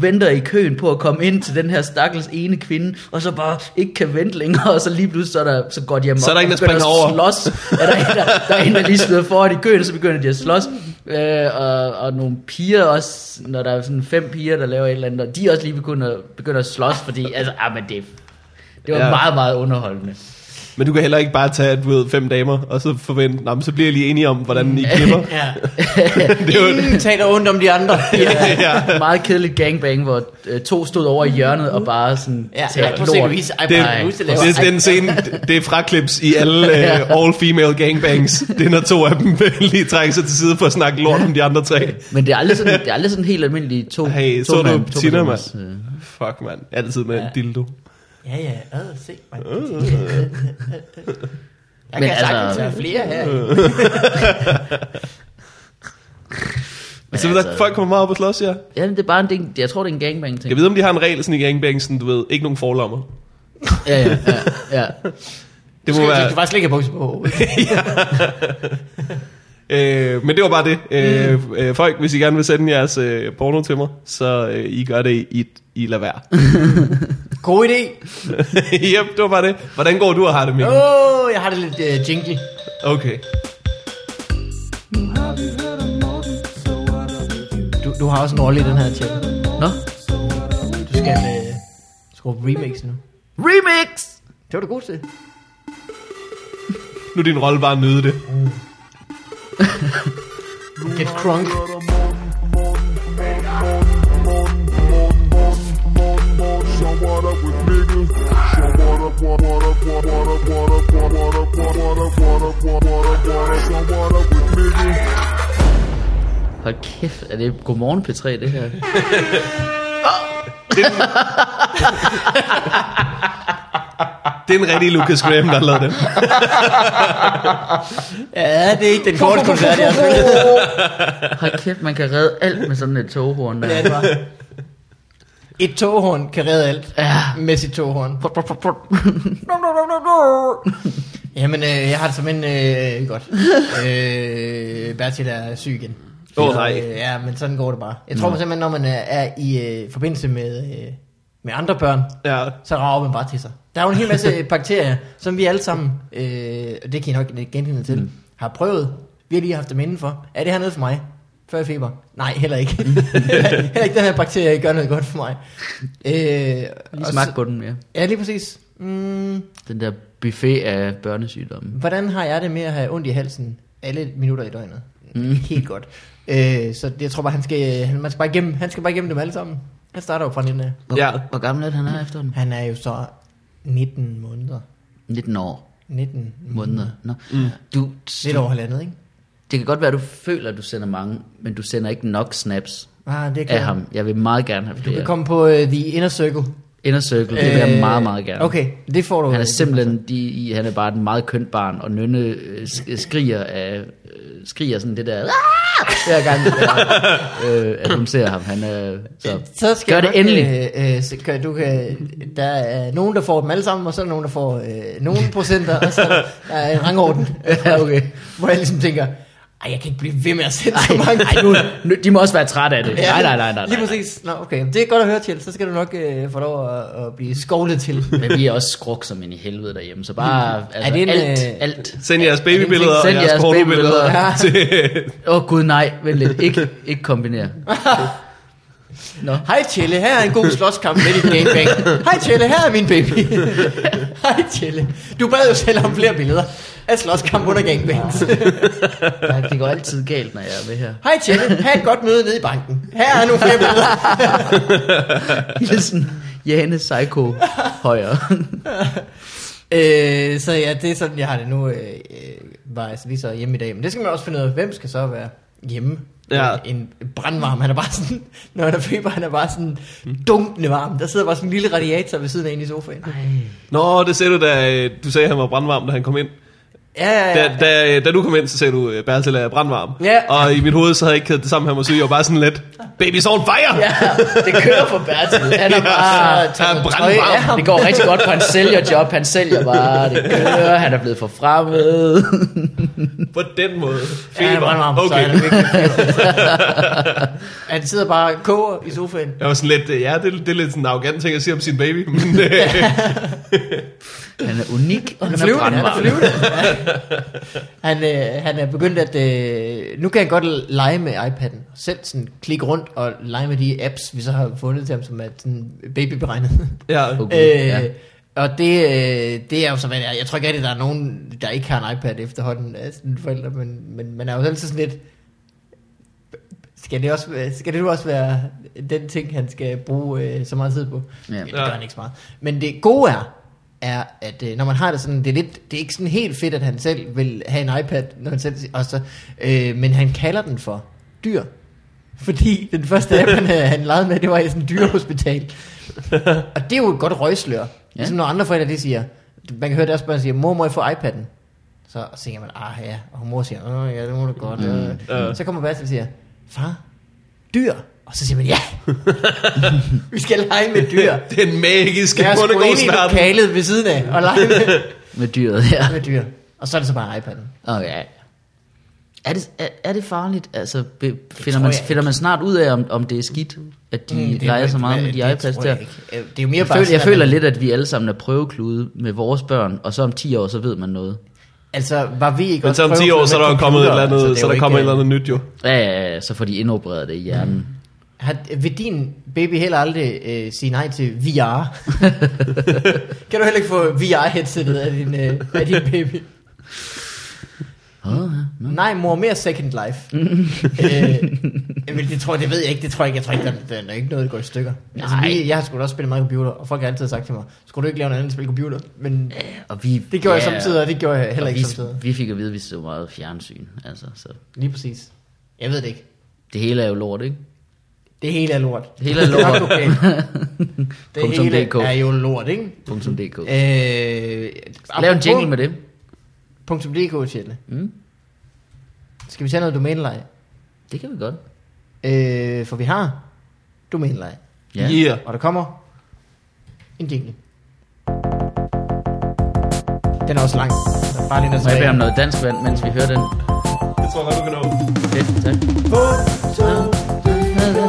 venter i køen på at komme ind til den her stakkels ene kvinde, og så bare ikke kan vente længere, og så lige pludselig så, er der, så går de amok
Så er der
og
en, der
begynder at
springer over.
Slås. Ja, der, er en, der, der er en, der lige smider foran i køen, og så begynder de at slås. Øh, og, og nogle piger også, når der er sådan fem piger, der laver et eller andet, og de er også lige begynder, begynder at slås, fordi altså, ah, men det, det var
Ja.
ja. meget, meget underholdende.
Men du kan heller ikke bare tage, du ved, fem damer, og så forvente, "Nå, men så bliver jeg lige enige om, hvordan I klipper.
[laughs] ja.
Det er jo-
Ingen taler ondt om de andre.
[laughs] ja.
ja. [laughs] meget kedeligt gangbang, hvor øh, to stod over i hjørnet og bare sådan
Ja,
talte
ej, prøv at se, Louise. Ej,
Det,
prøv
er-
at se, Louise laver.
det, er den scene, det er fraklips i alle
[laughs]
uh, all-female gangbangs. Det er, når to af dem [laughs] lige trækker sig til side for at snakke lort om de andre tre.
Men det er aldrig sådan, det er aldrig sådan helt almindelige to,
Hey,
to
så du
mand- to
Tina,
manders,
mand?
øh.
Fuck, mand. Altid med en
Ja.
dildo.
Ja, ja. Ad, se. Man. Jeg
Men
kan sagtens
altså-
være flere her.
Men så ved
altså-
der, folk kommer meget op og slås, ja.
Ja, men det er bare en ting, jeg tror det er en gangbang ting.
Jeg ved, om de har en regel sådan i gangbangs, sådan, du ved, ikke nogen forlommer.
Ja, ja, ja, ja.
Det
Du
må
skal-
være...
Du skal bare slikke bukser på.
Øh, men det var bare det. Øh,
Mm.
øh, folk, hvis I gerne vil sende jeres øh, porno til mig, så øh, I gør det, I, I lader være.
God idé.
[laughs] yep, det var bare det. Hvordan går du og har det, Mikkel?
Åh, oh, jeg har det lidt uh, jingle.
Okay.
Du, du har også en rolle i den her chat.
Nå?
Du skal uh, skrue på remix nu.
Remix!
Det var du god til.
Nu er din rolle bare at nyde det.
Get crunk.
Show what up with niggas. Show what up, what what up, what what up, what up, what what up, what what up, what up, what what up, what up. Show what up with niggas.
Hold kæft, er det Godmorgen P3, det her?
Det er en rigtig Lucas Graham, der har lavet den.
Ja, det er ikke den korte koncert, jeg har spillet.
Hold kæft, man kan redde alt med sådan et toghorn der.
Ja, det var. Et toghorn kan redde alt.
Ja.
Med sit toghorn. Jamen, øh, jeg har det som en øh, godt. Øh, Bertil er syg igen.
Åh,
Så,
nej.
Øh, ja, men sådan går det bare. Jeg tror simpelthen, når man er, er i øh, forbindelse med, øh, med andre børn,
Ja.
så rager man bare til sig. Der er jo en hel masse bakterier, som vi alle sammen, øh, og det kan I nok genkende til, mm. har prøvet. Vi har lige haft dem indenfor. Er det her noget for mig? Før i feber? Nej, heller ikke. heller ikke den her bakterie gør noget godt for mig.
[laughs]
Øh,
Lige
og
smag
så-
på den, ja.
Ja, lige præcis. Mm,
Den der buffet af børnesygdomme.
hvordan har jeg det med at have ondt i halsen alle minutter i døgnet? Mm. Helt godt. Øh, så jeg tror bare, han skal, han, man skal bare igennem, han skal bare igennem dem alle sammen. Han starter jo fra 19 af.
Hvor,
Ja.
hvor gammel er det, han er efterhånden?
Han er jo så 19 måneder.
19 år.
19
måneder. Nå. Mm. Du,
Lidt over halvandet, ikke?
Det kan godt være, at du føler, at du sender mange, men du sender ikke nok snaps
Ah, det kan
af ham. Jeg vil meget gerne have
Du kan
flere.
komme på uh, The Inner Circle. Øh,
Inner Circle, det vil jeg meget, meget gerne.
Okay, det får du.
Han er
øh,
simpelthen, de, i- han er bare et meget kønt barn, og Nynne øh, sk- skriger, af, øh, skriger sådan det der, "Ah!" hver gang, øh, øh, at hun ser ham. Han er, så,
Så skal
gør
du
det
nok,
endelig.
Øh, øh, så kan, du kan, der er nogen, der får dem alle sammen, og så er der nogen, der får øh, nogle procenter, og så er der en rangorden,
[laughs] ja, okay.
hvor jeg ligesom tænker, ej, jeg kan ikke blive ved med at sende så
Ej,
mange.
ej, nu, nu, de må også være trætte af det.
Ja,
Nej, nej, nej, nej.
Lige
nej.
præcis. Nå, okay. Det er godt at høre til, så skal du nok øh, få lov at, at blive skovlet til.
Men vi er også skruk som en i helvede derhjemme, så bare altså,
Er det en,
alt,
øh,
alt.
Send jeres babybilleder
Send
og jeres,
jeres
pornobilleder
babybilleder.
til...
Åh oh, gud, nej, vent lidt. Ikke, ikke kombinere. Nå.
[laughs] Hej Tjelle, her er en god slåskamp med dit gangbang. Hej Tjelle, her er min baby. [laughs] Hej Tjelle. Du bad jo selv om flere billeder af slåskamp under gangbangs.
Nej, det går altid galt, når jeg er med her.
Hej
[laughs]
Tjelle, have et godt møde nede i banken. Her er nogle flere billeder.
Hilsen, Jane Psycho højre.
Øh, så ja, det er sådan, jeg har det nu. Øh, øh, var altså lige så hjemme i dag. Men det skal man også finde ud af, hvem skal så være hjemme? Øh,
Ja.
En brandvarm, han er bare sådan, [laughs] når han er feber, han er bare sådan dumpende varm. Der sidder bare sådan en lille radiator ved siden af en i sofaen.
[laughs] Nå, det sagde du, da øh, du sagde, at han var brandvarm, da han kom ind.
Ja, ja, ja.
Da, da, øh, da du kom ind, så sagde du, øh, Bertel er brandvarm.
Ja.
Og i mit hoved, så havde jeg ikke kædet det sammen, han var syg. Jeg var bare sådan lidt, baby's on fire!
ja,
det kører for Bertil. Han er
[laughs] Ja,
bare
han er
tøj
brandvarm.
af ham.
det går rigtig godt på hans sælgerjob. Han sælger bare, det kører, han er blevet forfremmet.
På den måde.
Ja, han er brandvarm, okay. så han er
okay.
virkelig feber. Han sidder bare og koger i sofaen.
Jeg var sådan lidt, øh, ja, det, det er lidt sådan en arrogant ting at sige om sin baby, men øh,
[laughs]
Han er unik, og han er
flyvende, han er
brandvarm.
flyvende. [laughs] han, øh, han er begyndt at... Øh, nu kan han godt lege med iPad'en. Selv sådan klikke rundt og lege med de apps, vi så har fundet til ham, som er sådan babyberegnet.
ja.
[laughs] Okay.
øh,
ja.
ja. Og det, øh, det er jo så, hvad det er. Jeg tror ikke rigtig, der er nogen, der ikke har en iPad efterhånden af sine forældre, men, men man er jo altid sådan lidt... Skal det, også, være- skal det nu også være den ting, han skal bruge øh, så meget tid på?
Ja.
det gør han ikke så meget. Men det gode er, er, at øh, når man har det sådan, det er, lidt, det er ikke sådan helt fedt, at han selv vil have en iPad, når han selv, og så, øh, men han kalder den for dyr. Fordi den første app, han, øh, han legede med, det var i sådan et dyrehospital. Og det er jo et godt røgslør. Ja. Ligesom når andre forældre, de siger, man kan høre deres børn sige, mor må jeg få iPad'en? Så tænker man, ah ja, og mor siger, åh ja, det må du godt. Mm.
Øh.
Så kommer Basil og siger, far, dyr. Og så siger man,
[laughs]
ja, vi skal lege med dyr.
Den magiske
Jeg er sgu ind i
bundegårdsverden.
lokalet ved siden af og lege med,
Med dyret, ja.
med dyr. Og så er det så bare iPad'en.
Okay. Er det, er, er det farligt? Altså, be, finder,
tror
man,
jeg
finder man snart ud af, om, om det er skidt, at de mm,
det er
leger
jo
så
ikke-
meget med
det
de iPads
tror jeg
der?
ikke. Øh, Det er jo mere
Jeg,
bare
føler, jeg
sådan, at
føler
man-
lidt, at vi alle sammen er prøveklude med vores børn, og så om 10 år, så ved man noget.
Altså, var vi ikke
Men
også
så om 10
prøveklude
år, så er
med
der jo kommet et
computere?
eller andet,
Altså, det er
så
jo
der kommer et
ikke-
eller andet nyt jo.
Ja, ja, ja, så får de indopereret det i hjernen.
Har, øh, vil din baby heller aldrig øh, sige nej til
[laughs]
VR? kan du heller ikke få VR-headsetet af din, øh, af din baby?
Åh, ja.
Nej, mor, mere Second
[laughs]
Life.
Mm.
øh, men det tror jeg, det ved jeg ikke. Det tror jeg ikke. Jeg tror ikke, der, der, der er ikke noget, der går i stykker. Altså,
Nej.
vi, jeg har sgu da også spillet meget computer, og folk har altid sagt til mig, skulle du ikke lave noget andet end at spille computer? Men
Øh, Og vi,
det gjorde
ja,
jeg samtidig, og det gjorde jeg heller
og
ikke samtidig.
vi, vi fik at vide, at vi så meget fjernsyn. Altså, så
Lige præcis. Jeg ved det ikke.
det hele er jo lort, ikke?
Det hele er lort.
Det hele er lort. [laughs]
Okay. Det
Punktum
hele
DK.
er jo Øh, lort, ikke?
Punktum .dk.
Øh,
Lav en jingle med det.
Punktum .dk, Tjelle.
Mm,
Skal vi tage noget domæneleje?
det kan vi godt.
Øh, for vi har domæneleje.
Ja.
Yeah.
Og der kommer en jingle. Den er også lang. Så Bare lige noget
Må jeg bede om
tilbage.
noget dansk vand, mens vi hører den?
Jeg tror godt, du kan nå.
Fedt, tak.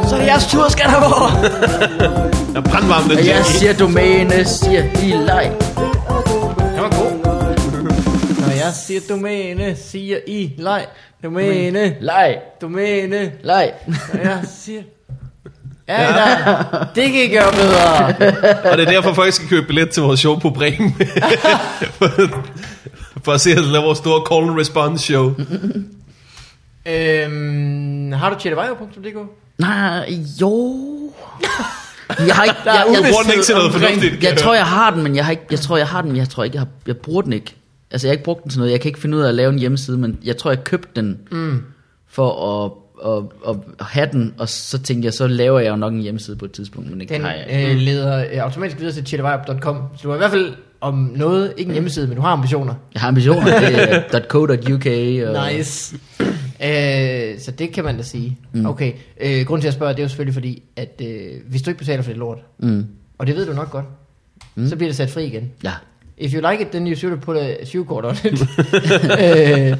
Så er det jeres tur, Skanderborg!
Jeg er brandvarm, den
Og jeg
jingle.
siger domæne, siger de leg.
Den var god. Når jeg siger domæne, siger I leg. Domæne,
Leg,
domæne,
leg.
Når jeg siger... Ja, ja. det kan I gøre bedre.
Og det er derfor, folk skal købe billet til vores show på Bremen. [laughs] For at se os lave vores store call and response show.
Øhm, har du tjettevejo.dk?
Nej, jo. Jeg har ikke,
Der er
jeg, jeg,
Du bruger den ikke til noget
omkring-
fornuftigt. kan
jeg, jeg tror, jeg har den, men jeg, har ikke, jeg tror, jeg har den, men jeg tror ikke, jeg, har, jeg bruger den ikke. Altså, jeg har ikke brugt den til noget. Jeg kan ikke finde ud af at lave en hjemmeside, men jeg tror, jeg købte den mm. for at, at, at, at, have den, og så tænkte jeg, så laver jeg jo nok en hjemmeside på et tidspunkt, men ikke
Den
har jeg.
øh, leder øh, automatisk videre til tjettevejo.com. Så du har i hvert fald om noget,
Mm.
ikke en hjemmeside, men du har ambitioner.
Jeg har ambitioner. Det er .co.uk. Og,
Nice. [clears throat] øh, så det kan man da sige. Mm. Okay, øh, grunden til at spørge, det er jo selvfølgelig fordi, at øh, hvis du ikke betaler for det lort,
Mm,
og det ved du nok godt, mm. så bliver det sat fri igen.
ja.
If you like it, then you should put a shoe court on it. [laughs] øh,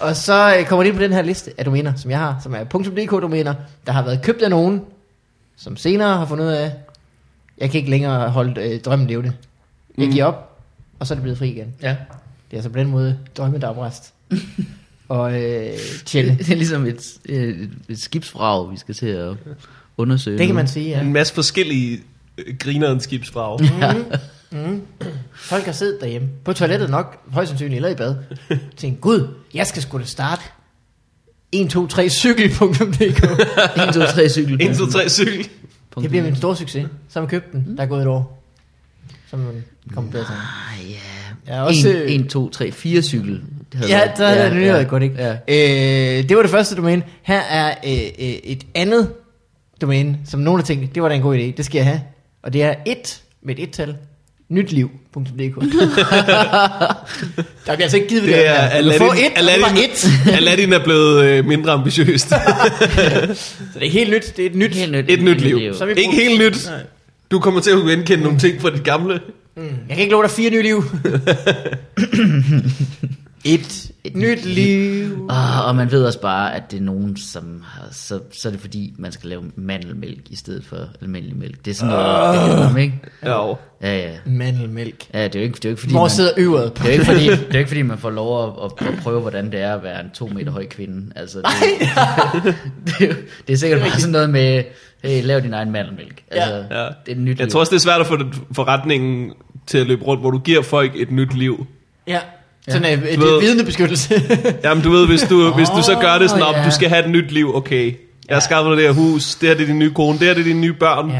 og så øh, kommer det ind på den her liste af domæner, som jeg har, som er .dk-domæner, der har været købt af nogen, som senere har fundet ud af, jeg kan ikke længere holde øh, drømmen levende. Jeg giver op, og så er det blevet fri igen.
ja.
Det er altså på den måde drømmedagbræst. og øh, tjelle.
Det er ligesom et, et, et skibsvrag, vi skal til at undersøge.
Det kan
nu. [laughs]
man sige, ja.
En masse forskellige øh, grinerens skibsbrag.
Folk har siddet derhjemme, på toilettet nok, højst sandsynligt, eller i bad, tænkt, gud, jeg skal skulle da starte 1, 2, 3, cykel.dk.
1, 2, 3, cykel.
1, 2, 3, cykel.
Det bliver min store succes. Så har man købt den. Der er gået et år. Så er man kommet bedre til.
Ah, ja.
Jeg er også,
en,
øh,
en, to, tre, fire cykel. Det havde
Ja,
været-
der havde ja, det nyheder ja, godt, ikke?
Ja.
Ja. Øh, det var det første domæne. Her er øh, øh, et andet domæne, som nogen har tænkt, det var da en god idé, det skal jeg have. Og det er et med et et-tal,
[laughs]
nytliv.dk. der bliver altså ikke givet ved
Det
her.
er
Du kan få
Aladdin,
et, Aladdin.
Aladdin,
et. Så
[laughs] Aladdin er blevet øh, mindre
[laughs]
ambitiøst.
det er ikke helt nyt, det er et nyt.
Helt nyt,
Et nyt liv.
Så er vi
Ikke
brugt-
helt nyt. Du kommer til at kunne genkende nogle ting fra dit gamle.
Jeg kan ikke love dig fire nye
[laughs]
liv. et, et nyt liv.
Ah, og man ved også bare, at det er nogen, som har, så, så er det fordi, man skal lave mandelmælk i stedet for almindelig mælk. Det er sådan noget, det handler om, ikke?
Ja.
Ja, ja.
Mandelmælk.
Ja, det er jo ikke, det er jo ikke fordi,
Hvor
man,
sidder øvret på?
det er jo ikke fordi, det er jo ikke fordi, man får lov at, at, at, prøve, hvordan det er at være en to meter høj kvinde. Altså, det, [laughs]
[laughs]
det, er jo- det er sikkert bare sådan noget med, hey, lav din egen mandelmælk. Altså,
Ja.
Ja.
Det er et nyt
Jeg
liv.
tror også, det er svært at få den forretningen til at løbe rundt, hvor du giver folk et nyt liv.
Ja. Sådan er det
Du ved-
er vidnebeskyttelse.
Jamen du ved, hvis du, hvis du så gør det sådan,
Åh,
om
ja.
du skal have et nyt liv, okay. Jeg har skaffet dig det her hus, det her det er din nye kone, det her det er dine nye børn.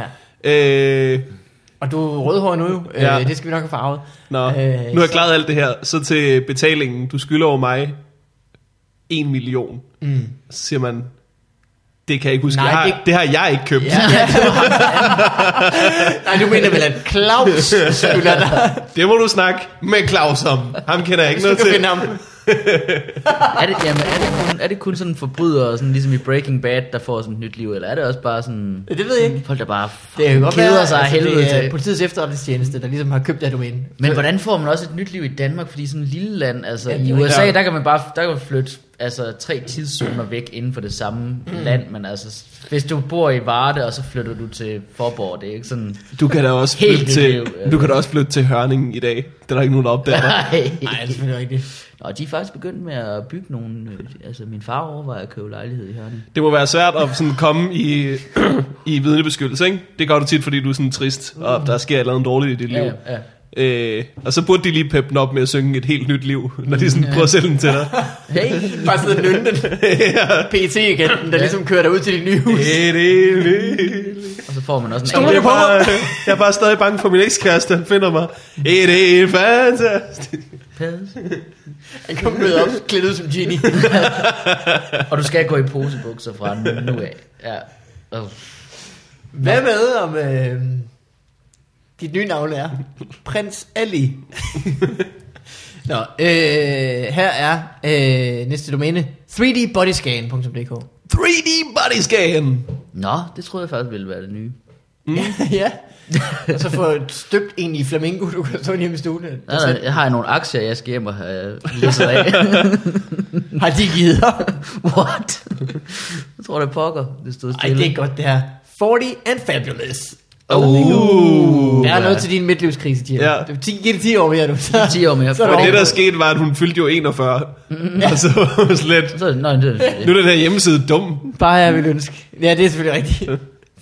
ja.
Øh,
[laughs] Og du er rødhåret nu jo.
Ja.
Ja. Øh, det skal vi nok have farvet.
nå,
Øh,
nu har jeg klaret alt det her. Så til betalingen, du skylder over mig en million.
Mm.
Så siger man, det kan jeg ikke huske.
Nej,
jeg har,
det-
det... har jeg ikke købt.
[laughs] Ja, ja, det var [laughs] Nej, du mener vel, at Claus skylder [laughs] dig.
Det må du snakke med Claus om. Ham kender jeg ikke
Så
noget
kan
til.
finde ham.
Er det, jamen, er, det kun, er det kun sådan forbrydere, sådan ligesom i Breaking Bad, der får sådan et nyt liv, eller er det også bare sådan
Det ved jeg ikke.
folk, der bare
Det kan
fucking
godt
keder
være, altså,
sig af helvede
det er øh,
til?
politiets efterretningstjeneste, der ligesom har købt det her domæne.
Men hvordan får man også et nyt liv i Danmark, fordi sådan et lille land, altså
Ja,
i
det er
USA,
rigtigt.
der kan man bare der kan man flytte altså, tre tidszoner væk inden for det samme
Mm.
land, men altså, hvis du bor i Varde, og så flytter du til Forborg, det er ikke sådan,
Du kan da også
Helt
flytte
nyt
til,
liv, ja.
du kan da også flytte til Hørningen i dag. Det er der ikke nogen, der opdager dig.
[laughs] Nej, det er
nej.
selvfølgelig rigtigt.
Nå, de er faktisk begyndt med at bygge nogle, øh, altså min far overvejer at købe lejlighed i Hørning.
Det må være svært at sådan komme i, i vidnebeskyttelse, ikke? Det gør du tit, fordi du er sådan trist, og der sker et eller andet dårligt i dit liv.
Ja, ja.
Øh, og så burde de lige peppe den op med at synge et helt nyt liv, når de sådan prøver at sælge den til dig.
Hey,
Bare sidde og nynne [laughs] den. PT igen, der ligesom kører dig ud til dit nye hus.
Et helt nyt liv.
og så får man også en
Jeg er, bare, jeg er bare stadig bange for min ekskæreste, han finder mig. Et helt fantastisk.
pas.
Han kom med op, klædt ud som [laughs] genie.
Og du skal gå i posebukser fra nu af. Ja. Oh.
Hvad med om øh, dit nye navn er Prins Ali? Nå, øh, her er øh, næste domæne 3dbodyscan.dk
3D body scan.
Nå, det troede jeg faktisk ville være det nye.
Ja, [laughs] og så få et støbt en i flamingo, du kan stå hjemme i stuen. Altså,
Nej, nej, jeg har nogle aktier, jeg skal hjem og have læsset
[laughs]
af.
Har de givet op?
What? Jeg tror, det er pokker, det stod
Ej,
stille.
det er godt det her. 40 and fabulous.
Uh.
Der er noget til din midtlivskrise, Jim.
Ja.
Ja. Du 10, giver det 10 år mere nu. Så,
10 år mere.
Så er
Men det, der
overgået.
skete, var, at hun fyldte jo 41. Og så var hun slet...
Så, nej, det,
Nu
det.
er den her hjemmeside dum.
Bare jeg vil ønske. Ja, det er selvfølgelig rigtigt.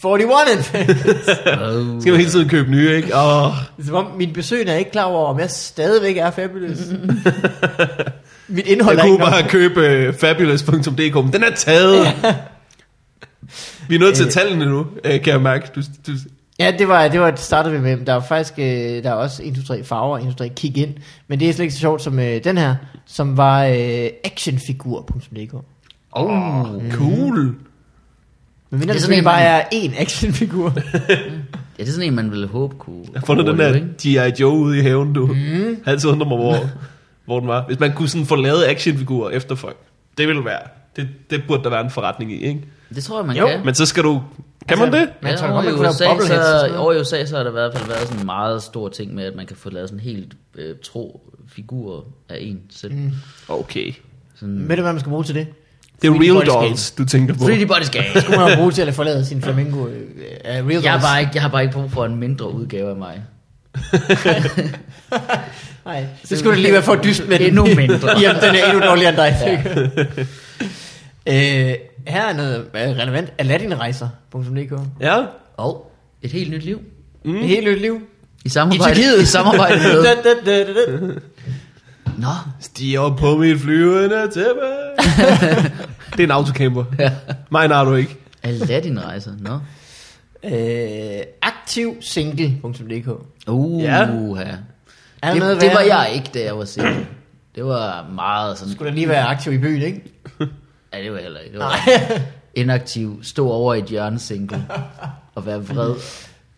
41 and fabulous.
Oh.
Skal man hele tiden købe nye, ikke? Åh.
Det er som om, min besøgende er ikke klar over, om jeg stadigvæk er
[laughs]
fabulous. Mit indhold
Jeg
er
kunne
ikke nok.
bare købe øh, fabulous.dk, men den er taget. Vi er nået til tallene nu, øh, kan jeg mærke. Du, du,
Ja, det var, det var et startet vi med. Der er faktisk øh, der er også 1, 2, 3 farver, 1, 2, 3 kig ind. Men det er slet ikke så sjovt som øh, den her, som var øh, actionfigur.dk.
Oh.
cool.
Men mindre
Det er
det
sådan en,
selvfølgelig bare
man-
er én actionfigur.
Ja, det er sådan en, man ville håbe kunne...
Jeg har fundet den der G.I. Joe ude i haven, du. Mm. Altid undrer mig, hvor, hvor den var. Hvis man kunne sådan få lavet actionfigurer efter folk, det ville være... Det, det burde der være en forretning i, ikke?
Det tror jeg, man
Jo,
kan.
Men så skal du... Kan man det?
Men jeg tror
Ja,
godt,
over
man
i
kunne lave
USA,
bobbleheads og sådan
så,
noget.
over i USA, så har der i hvert fald været sådan en meget stor ting med, at man kan få lavet sådan en helt øh, tro figur af en selv. Mm.
Okay.
Sådan,
Ved du, hvad man skal bruge til det?
Det er
3D
real
bodyscan.
dolls, du tænker på.
3D body scan.
Skulle man jo bruge til at forlade sin flamingo øh, af real
Jeg har,
dolls.
bare ikke, jeg har bare ikke brug for en mindre udgave af mig.
Nej, så skulle det lige være for dyst med den.
Endnu mindre.
[laughs] Jamen, den er endnu
[laughs]
dårligere end dig. Ja. [laughs] øh, her er noget øh, relevant. Aladdinrejser.dk mm.
Ja.
Og et helt nyt liv.
Et helt nyt
[laughs]
liv.
I samarbejde,
Tyrkiet.
I samarbejde [laughs] med...
Da, da, da, da, da.
Nå,
Stig op på mit flyvende
[laughs]
tæppe. det er en autocamper.
Ja.
Mine har du ikke.
Aladdin rejser, nå.
Øh, aktivsingle.dk
Uh,
Ja.
ja.
der
Det,
noget
det var
værre?
jeg ikke, da jeg var single. Det var meget sådan...
Skulle da lige være aktiv i byen, ikke?
Ja, det var heller ikke. Det
[laughs] Nej.
var inaktiv, stå over i et hjørne [laughs] single og være vred.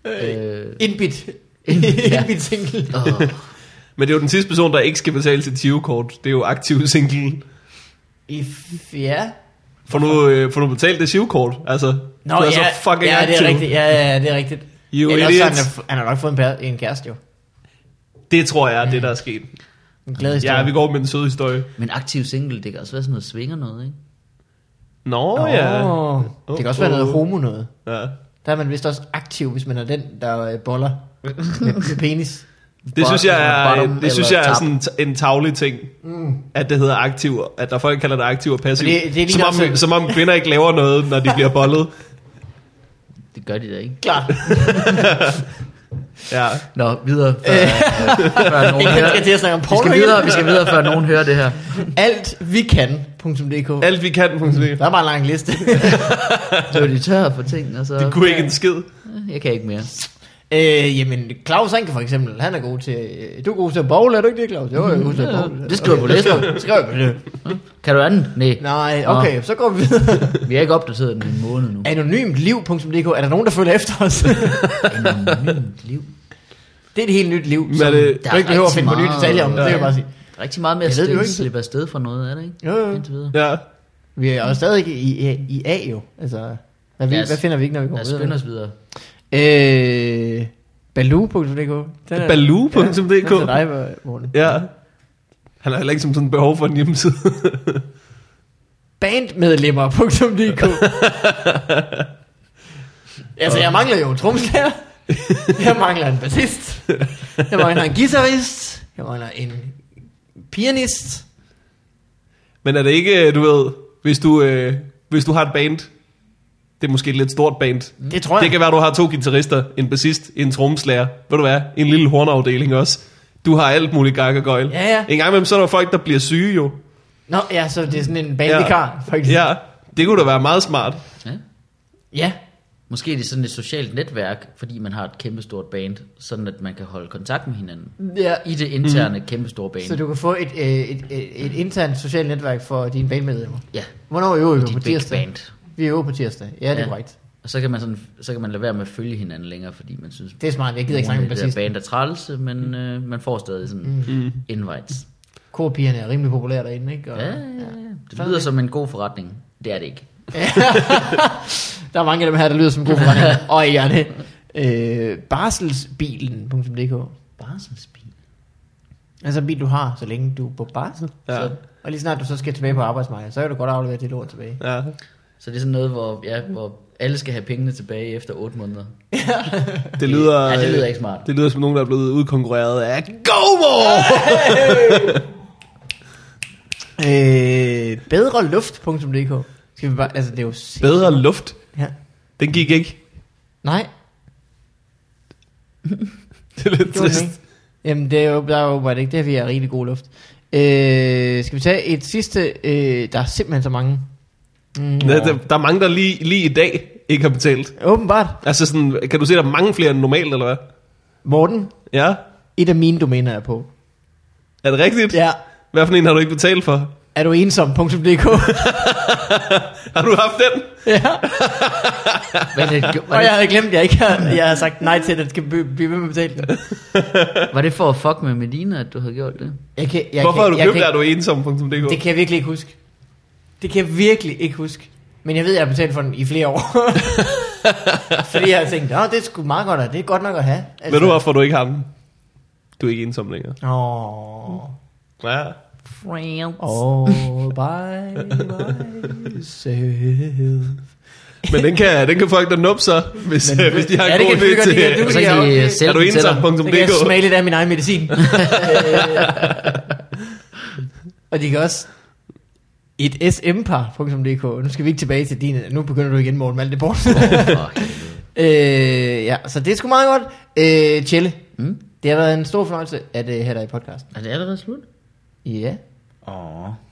øh,
Indbit.
Ja.
Indbit single.
åh.
Men det er jo den sidste person, der ikke skal betale sit Tio-kort. Det er jo aktiv single.
If, ja.
For nu, øh, for nu betalt det Tio-kort. Altså, du er så fucking
ja,
aktiv.
det er rigtigt. Ja, ja, ja, det er rigtigt.
You
Eller også,
idiot.
har han, har- han har nok fået en, pære, en kæreste jo.
Det tror jeg er det, der er sket.
En glad historie.
Ja, vi går med den søde historie.
Men aktiv single, det kan også være sådan noget svinger noget, ikke?
Nå
Nå,
ja.
Det kan også være noget
Åh, åh.
homo noget.
ja.
Der er man vist også aktiv, hvis man er den, der øh, boller med, med penis.
Det synes jeg er,
Bottom
det synes
eller
jeg er
top.
sådan t- en tavlig ting, mm. at det hedder aktiv, at der folk kalder det aktiv og passiv.
Men det- det er lige
som,
nok
om,
sådan-
som om kvinder ikke laver noget, når de bliver
[laughs]
bollet.
Det gør de da ikke.
Klart.
Ja.
Nå, videre. Før, [laughs] øh, før nogen
Jeg
hører.
skal til at snakke om
Vi
porno.
skal
igen.
videre, vi
[laughs]
skal videre, før nogen hører det her.
Altvikan.dk
Alt vi
Mm.
kan, punktum.
Der er bare en lang liste. [laughs]
Så er de tør for ting, og så...
Det kunne ikke en skid.
Jeg kan ikke mere.
øh, jamen, Claus Anker for eksempel, han er god til... øh, Du er god til at bogle, er du ikke det, Claus? Jo, jeg er god til at bogle.
Det skriver jeg på
Okay,
listen.
det Skriver jeg på det.
Kan du andet? Nej.
Nej, okay, så går vi videre.
Vi har ikke opdateret den i en måned nu.
Anonymtliv.dk Er der nogen, der følger efter os? [laughs]
Anonymt liv.
det er et helt nyt liv,
Men
som
er det-
Der
du
er
ikke behøver at
rigtig
finde på nye
meget-
detaljer om. Det kan jeg bare sige.
Rigtig meget med at
Jeg ved det jo
slippe,
ikke.
slippe afsted for noget, er det ikke?
Jo, jo.
Indtil videre.
Ja.
Vi er jo stadig i, i, i A jo. Altså, hvad, vi,
Lad os-
hvad finder vi ikke, når vi
Lad os
går
skynde os
videre?
videre.
Øh, Baloo.dk Den er- Den
Baloo.dk.
er til dig, Morten.
Ja. Han har heller ikke som sådan behov for en hjemmeside. [laughs]
[laughs] bandmedlemmer.dk Altså, jeg mangler jo en tromslærer. Jeg mangler en bassist. Jeg mangler en guitarist. Jeg mangler en pianist.
Men er det ikke, øh, du ved, hvis du, øh, hvis du har et band, det er måske et lidt stort band.
Det tror jeg.
Det kan være, du har to guitarister, en bassist, en trommeslager, ved du hvad, en lille hornafdeling også. Du har alt muligt gak og gøjl.
Ja, ja.
En gang imellem, så er der folk, der bliver syge jo.
Nå, ja, så det er sådan en bandvikar, ja. faktisk.
Ja, det kunne da være meget smart.
Ja.
ja.
Måske er det sådan et socialt netværk, fordi man har et kæmpestort band, sådan at man kan holde kontakt med hinanden.
ja.
I det interne mm. kæmpestore band.
Så du kan få et, øh, et, et, et internt socialt netværk for dine bandmedlemmer.
Ja,
Hvornår øver vi
dit
på
big
tirsdag?
band.
Vi øver på tirsdag. Ja, det er
Ja.
korrekt.
Og så kan, man sådan, så kan man lade være med at følge hinanden længere, fordi man synes,
Det er smart. Jeg gider ikke snakke Mm. med
det der
bassisten.
band er træls, men øh, man får stadig sådan mm. invites.
Korpigerne er rimelig populære derinde, ikke? Og,
Ja, ja, ja. Det lyder som en god forretning. Det er det ikke.
[laughs] Der er mange af dem her, der lyder som gode
[laughs]
forretninger. Og I er det. Øh, barselsbilen.dk
Bare som spil.
Altså en bil, du har, så længe du er på barsel.
Ja.
Så,
Og lige snart du så skal tilbage på arbejdsmarkedet, så kan du godt aflevere dit lort tilbage.
Ja.
så det er sådan noget, hvor, ja, hvor alle skal have pengene tilbage efter 8 måneder.
Det lyder,
Ja, det lyder ikke
øh,
smart.
Det lyder som nogen, der er blevet udkonkurreret af GOMOR!
Ah! Øh, bedreluft.dk Skal vi bare, altså det er jo sindssygt.
Bedre luft.
Ja.
Den gik ikke.
Nej,
[laughs] Det er lidt
det var den
trist.
ikke. Jamen det er jo, der er jo bare ikke det, her, vi har rigtig god luft. Øh, skal vi tage et sidste? Øh, der er simpelthen så mange. Mm.
Der, der, der er mange, der lige, lige i dag ikke har betalt.
Åbenbart.
Altså sådan, kan du se, der er mange flere end normalt, eller hvad?
Morten,
Ja,
et af mine domæner er på.
er det rigtigt?
Ja.
Hvad for en har du ikke betalt for?
Er du ensom.dk?
Har du haft den?
[laughs] ja.
Var det, var,
Og jeg
det,
havde glemt, at jeg ikke havde, jeg havde sagt nej til, at det skal blive blive ved med at betale den.
var det for at fuck med Medina, at du havde gjort det?
Jeg kan, jeg
Hvorfor
kan,
har du
jeg
købt det,
kan,
er du ensom.dk?
Det kan jeg virkelig ikke huske. Det kan jeg virkelig ikke huske. Men jeg ved, at jeg har betalt for den i
[laughs]
flere år. Fordi jeg har tænkt, at det er sgu meget godt, og det er godt nok at have. Altså,
Ved du, hvorfor du ikke har den? Du er ikke ensom længere.
Åh,
Ja.
oh, bye, bye,
Men den kan, den kan folk da nuppe
[laughs]
sig, hvis, Men, hvis de har
ja,
en
det
god
kan vi
idé
godt
til.
lide, at du
Og så kan
Ja, okay.
de øh,
Er
sælge
du
den til dig.
Så kan jeg
ensom.dk?
smage lidt af min egen
[laughs]
medicin. Øh, og de kan også et smpar.dk. Nu skal vi ikke tilbage til din. Nu begynder du igen, Morten, med alt det bort.
For helvede.
[laughs] øh, ja, så det er sgu meget godt. Øh, Tjelle,
Mm?
det har været en stor fornøjelse at øh, have dig i podcasten.
Er det allerede slut?
Ja.
Åh.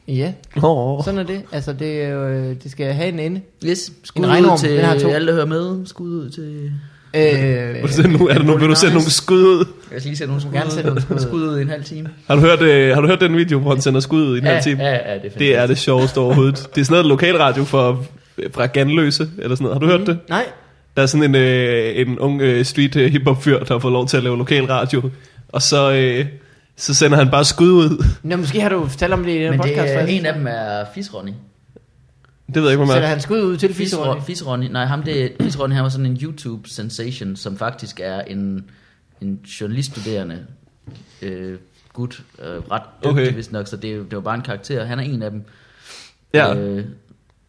Ja,
Oh.
sådan er det. Altså, det, er jo, øh, det skal have en ende.
Yes, skud
En regnorm,
ud til
den har to.
alle, der hører med. Skud ud til...
Øh,
Vil du sende, nogle- er der nogen, vil du sende nogle skud ud?
Jeg skal lige sætte nogle skud,
gerne sætte nogle skud
ud.
ud.
[laughs] skud ud i en halv time.
Har du hørt, øh, har du hørt den video, hvor han sender skud ud i den her time?
Ja, ja, ja, det er
Det er
fantastisk.
det sjoveste overhovedet. Det er sådan noget lokalradio fra, fra Ganløse, eller sådan noget. Har du
Mhm.
hørt det?
nej,
Der er sådan en, øh, en ung øh, street øh, hiphop fyr, der har fået lov til at lave lokalradio. Og så, øh, så sender han bare skud ud.
Nå, måske har du fortalt om det i den her
Men det
podcast.
er,
faktisk.
en af dem er Fisronny.
Det ved jeg ikke, hvor
Sætter
man
han skud ud til
Fisronny,
fiskerådet?
Fisronny. Nej, ham det, Fisronny, han var sådan en YouTube-sensation, som faktisk er en, en journaliststuderende øh, gut, øh, ret dygtig
Okay.
okay. vist nok, så det, det var bare en karakter. Han er en af dem.
Ja.
Øh,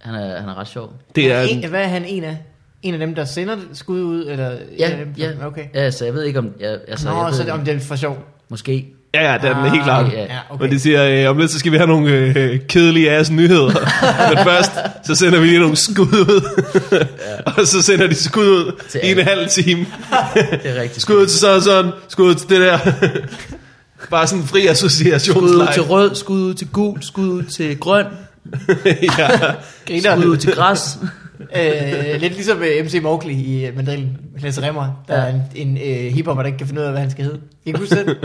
han, er, han er ret sjov.
Det er
en, hvad er han en af? En af dem, der sender skud ud? Eller en af
Ja,
dem,
ja,
Okay.
ja, så jeg ved ikke om... Ja, altså,
Nå,
jeg ved,
så det, om det er for sjov. Ah,
Måske.
Ja, ja, det er den helt klart.
Ah, ja.
Ja,
Okay. Men de
okay.
siger, øh, om lidt så skal vi have nogle øh, kedelige ass nyheder.
[laughs]
Men først, så sender vi lige nogle skud ud. [laughs] og så sender de skud ud
Til
i en
alle.
halv time.
Det er rigtigt.
Skud ud til sådan og sådan, skud ud til det
[laughs]
der. Bare sådan en fri
Skud ud
associationsleg.
til rød, skud ud til gul, skud ud til grøn,
[laughs] ja.
Griner.
skud ud til græs.
øh, lidt ligesom øh, MC Mowgli i øh, Mandrillen. Lasse Remmer, der
Ja.
ja. er en, en øh, hiphopper, der ikke kan finde ud af, hvad han skal hedde. Kan I huske den?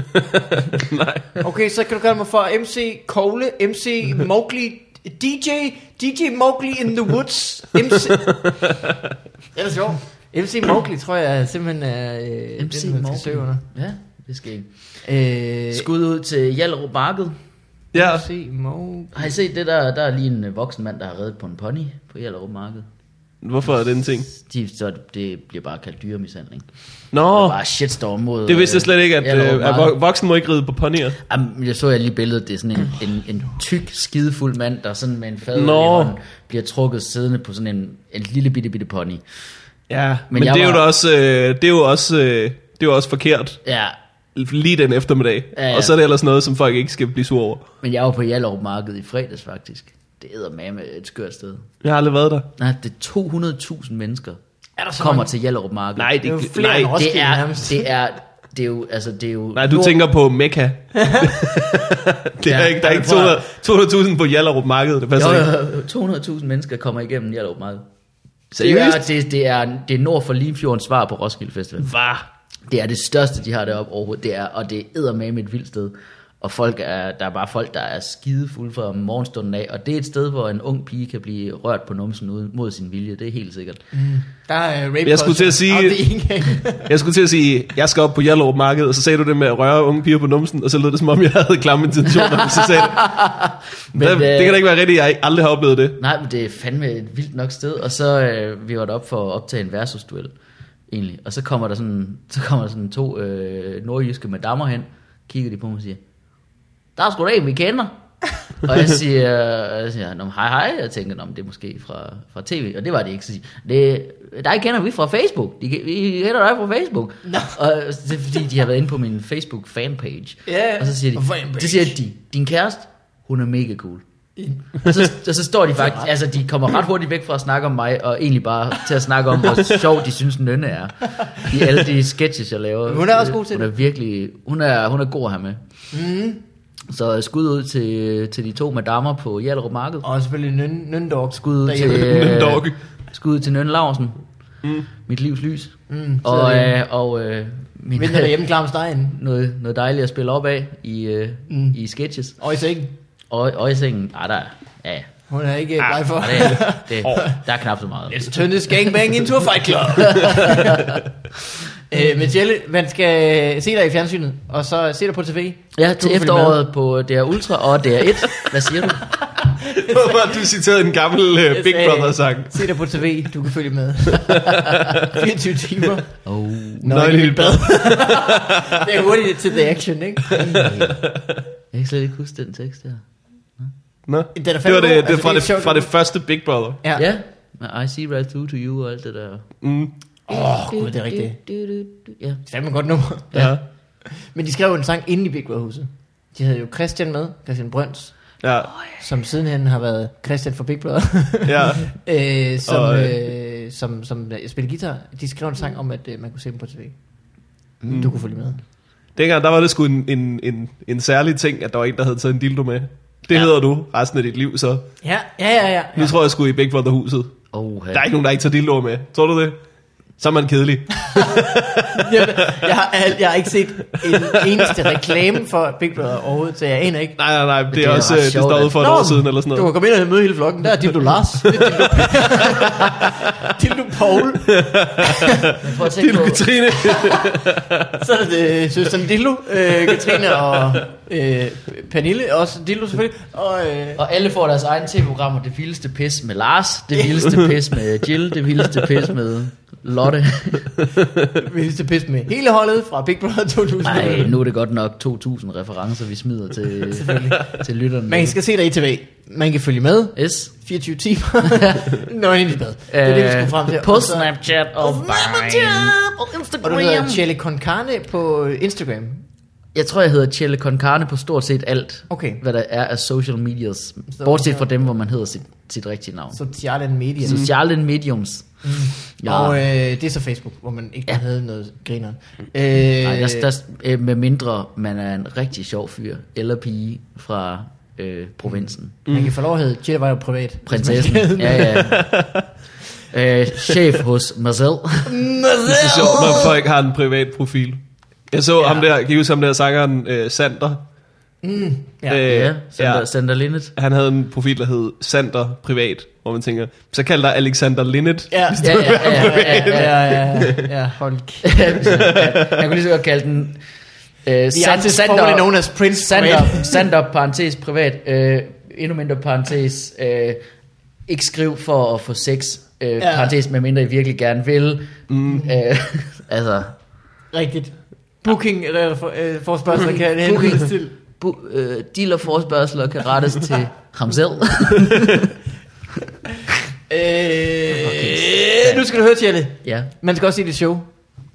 [laughs] Nej.
Okay, så kan du kalde mig for MC Kogle, MC Mowgli, DJ, DJ Mowgli in the Woods,
[laughs]
MC... Ellers jo. MC Mowgli, tror jeg, er simpelthen er øh,
MC
den, man skal
Mowgli.
søge under.
Ja, det skal ikke.
Øh,
Skud ud til Hjallerup Marked.
Ja.
MC Mowgli...
Har I set det der? Der er lige en øh, voksen mand, der har reddet på en pony på Hjallerup Marked.
Hvorfor er det en ting?
De, så det bliver bare kaldt dyremishandling. Det er
Nå,
bare shitstorm mod...
det vidste jeg
øh,
slet ikke, at,
Hjallerup
øh, at
Marked.
vo- voksne må ikke ride på ponyer.
Jamen, jeg så jeg lige billedet, det er sådan en, en, en tyk, skidefuld mand, der sådan med en fad i
Nå.
hånden, bliver trukket siddende på sådan en, en lille bitte bitte pony.
Ja, men,
men
men
jeg
det, er jo
var-
da også, øh, det er jo også... Øh, det er jo også forkert
Ja,
lige den eftermiddag.
Ja, ja.
Og så er det ellers noget, som folk ikke skal blive sur over.
men jeg var på Hjallerup Marked i fredags faktisk. Det æder med et skørt sted.
Jeg har aldrig været der.
Nej, det er 200.000 mennesker,
Er der så
kommer
mange?
til Hjallerup Marked.
Nej, det,
er jo
det
flere
nej,
end os.
det
Roskilde
er,
nærmest.
det er, det er jo, altså det er jo...
nej, du
Nord-
tænker på
[laughs]
Mekka. [laughs] det er
Ja,
ikke, der er
ja,
ikke
prøv
200
at-
200.000 på Hjallerup Marked. Altså, Det passer
Jo,
ikke.
jo, jo, 200.000 mennesker kommer igennem Hjallerup Marked.
Seriøst?
Det er, det, det, er, det er nord for Limfjordens svar på Roskilde Festival.
Hvad?
Det er det største, de har deroppe overhovedet. Det er, og det er med et vildt sted. Og folk er, der er bare folk, der er skidefulde fra morgenstunden af. Og det er et sted, hvor en ung pige kan blive rørt på numsen ud, mod sin vilje. Det er helt sikkert.
Der er rape
Jeg skulle til at sige-
Og det er ikke
[laughs]
engang-
Jeg skulle til at sige, jeg skal op på Hjallerup Marked, og så sagde du det med at røre unge piger på numsen, og så lød det som om, jeg havde klamme intentioner, men så sagde jeg,
Men,
det, det kan
øh,
da ikke være rigtigt, jeg aldrig har oplevet det.
Nej, men det er fandme et vildt nok sted. Og så øh, vi var deroppe for at optage en versus-duel, egentlig. Og så kommer der sådan, så kommer der sådan to øh, nordjyske madammer hen, kigger de på mig og siger, der er sgu da en, vi kender. og jeg siger, jeg siger Nå, men hej hej, jeg tænker, Nå, men det er måske fra, fra tv, og det var det ikke. Så siger, de, det, dig kender vi fra Facebook, de, vi kender dig fra Facebook.
Nå.
Og det er fordi, de har været inde på min Facebook fanpage.
Ja,
og så siger de,
fanpage.
så siger de, din kæreste, hun er mega cool. Og så, og så
[laughs]
står de faktisk, altså de kommer ret hurtigt væk fra at snakke om mig, og egentlig bare til at snakke om,
[laughs]
hvor sjov de synes, Nynne er. I alle de sketches, jeg laver.
Hun er også god til
Hun er virkelig, hun er, hun er god at have med.
Mm.
Så skud ud til, til de to madammer på Hjallerup Marked.
Og selvfølgelig Nøn- Nøndork.
Skud ud til,
derhjemme.
Men dog.
skud ud til Nynne Larsen. Mm. Mit livs lys.
Mm,
Og, øh, og øh, min,
Vinder derhjemme klar om stegen.
[laughs] noget, noget dejligt at spille op af i, øh,
Mm.
mm. i sketches.
Og i sengen.
Og, og i sengen, ah, der, er- ja, ja.
Hun er ikke bleg for.
Ah, Og det, er- det, der er knap så meget.
[laughs] Let's turn this gangbang into a fight
[laughs]
club. øh, men Jelle, man skal øh, se dig i fjernsynet, og så se dig på tv.
Ja,
Du kan
til
følge
efteråret på DR Ultra og [laughs] DR1. Hvad siger du?
Hvorfor har du citeret en gammel uh,
Jeg
Big
sagde-
Brother-sang?
Se dig på tv, du kan følge
[laughs]
med. 24 timer.
Oh.
Nøgen i dit bad.
[laughs] Det er hurtigt til the action, ikke?
Jeg kan slet ikke huske den tekst der.
Nå.
Den er
Det
fandme
var
god.
det,
Altså,
det, fra,
det er
det,
sjovt.
fra det første Big Brother.
Ja.
Ja, med I see right through to you og alt det der.
Mm.
Åh, oh, gud, det er rigtigt.
Du, du, du. Ja.
Det er fandme et godt nummer.
Ja.
Men de skrev jo en sang inde i Big Brother huset. De havde jo Christian med, Christian Brøns,
Ja.
som sidenhen har været Christian fra Big Brother,
[laughs] ja.
[laughs] øh, som,
Og,
øh, som, som øh, spiller guitar. De skrev en sang om, at øh, man kunne se dem på tv. Mm. Du kunne følge med.
Dengang, der var det sgu en, en, en, en særlig ting, at der var en, der havde taget en dildo med. Det ja.
Ja.
hedder du resten af dit liv, så.
Ja, ja, ja, ja.
Nu
ja.
tror jeg sgu i Big Brother-huset.
Oh,
Der er ikke nogen, der ikke tager dildoer med. Tror du det? Så er man kedelig.
Jamen, jeg, har, al- jeg har ikke set en eneste reklame for Big Brother overhovedet, så jeg aner ikke.
Nej, nej, nej. Det,
det
er
er
også,
ret
øh, det
sjovt,
står ude
at-
for et
Nå,
år siden eller sådan
Du må
noget.
komme ind og møde hele flokken. Der er Dildo Lars. Det er Dildo, [laughs] Dildo Paul.
Prøv at tænke
Dildo
på,
Katrine.
Så er det søsteren Dildo, øh, Katrine og øh, Pernille. Også Dildo selvfølgelig. Og, øh,
og alle får deres egne tv-programmer. Det vildeste pis med Lars, det vildeste pis med Jill, det vildeste pis med Lotte.
vildeste pis med hele holdet fra Big Brother
[laughs]
2000.
Nej, nu er det godt nok 2.000 referencer, vi smider [laughs] til, til lytterne.
Man skal se dig i tv. Man kan følge med.
Yes.
24 [laughs] timer. Nøgen i bad. Det er det, vi skal frem til.
Øh, På
Og så-
Snapchat og Vine.
Og du hedder Chelle Concarne på øh, Instagram.
Jeg tror, jeg hedder Chelle Concarne på stort set alt,
Okay.
hvad der er af social medias. Bortset fra dem, hvor man hedder sit, sit rigtige navn.
Sociale medier.
Sociale mediums. Ja.
Mm. Og øh, det er så Facebook, hvor man ikke ja. havde noget grineren. Øh,
Nej, der, der, øh, med mindre man er en rigtig sjov fyr eller pige fra øh, provinsen.
Man kan få lov at hedde Jette var jo Mm. privat.
Prinsessen. Ja,
[laughs]
ja. øh, chef hos mig selv.
Det er sjovt, når folk har en privat profil. Jeg så ja. ham der, kan I huske ham der sangeren øh, Sander?
Ja.
Øh,
ja, Sander, ja. Sander Linnet. [laughs]
Han havde en profil, der hed Sander Privat, hvor man tænker, så kald dig Alexander Linnet.
Ja.
Ja, ja, ja, ja, ja, ja.
Ja, ja, [laughs] ja, ja, hold kæft.
Jeg kunne lige så godt kalde den... Øh,
The artist formerly known as Prince
Sander,
Privat.
Sander, parentes privat, øh, endnu mindre parentes, øh, ikke skriv for at få sex, øh, ja. parentes, medmindre I virkelig gerne vil. Mm. Øh, [laughs] altså,
Rigtigt. Booking øh, for, øh, forspørgsel kan jeg
Booking.
henvise til.
bu- øh, deal og forspørgseler kan rettes til ham selv.
Øh, nu skal du høre, Jelle.
ja,
Man skal også se det show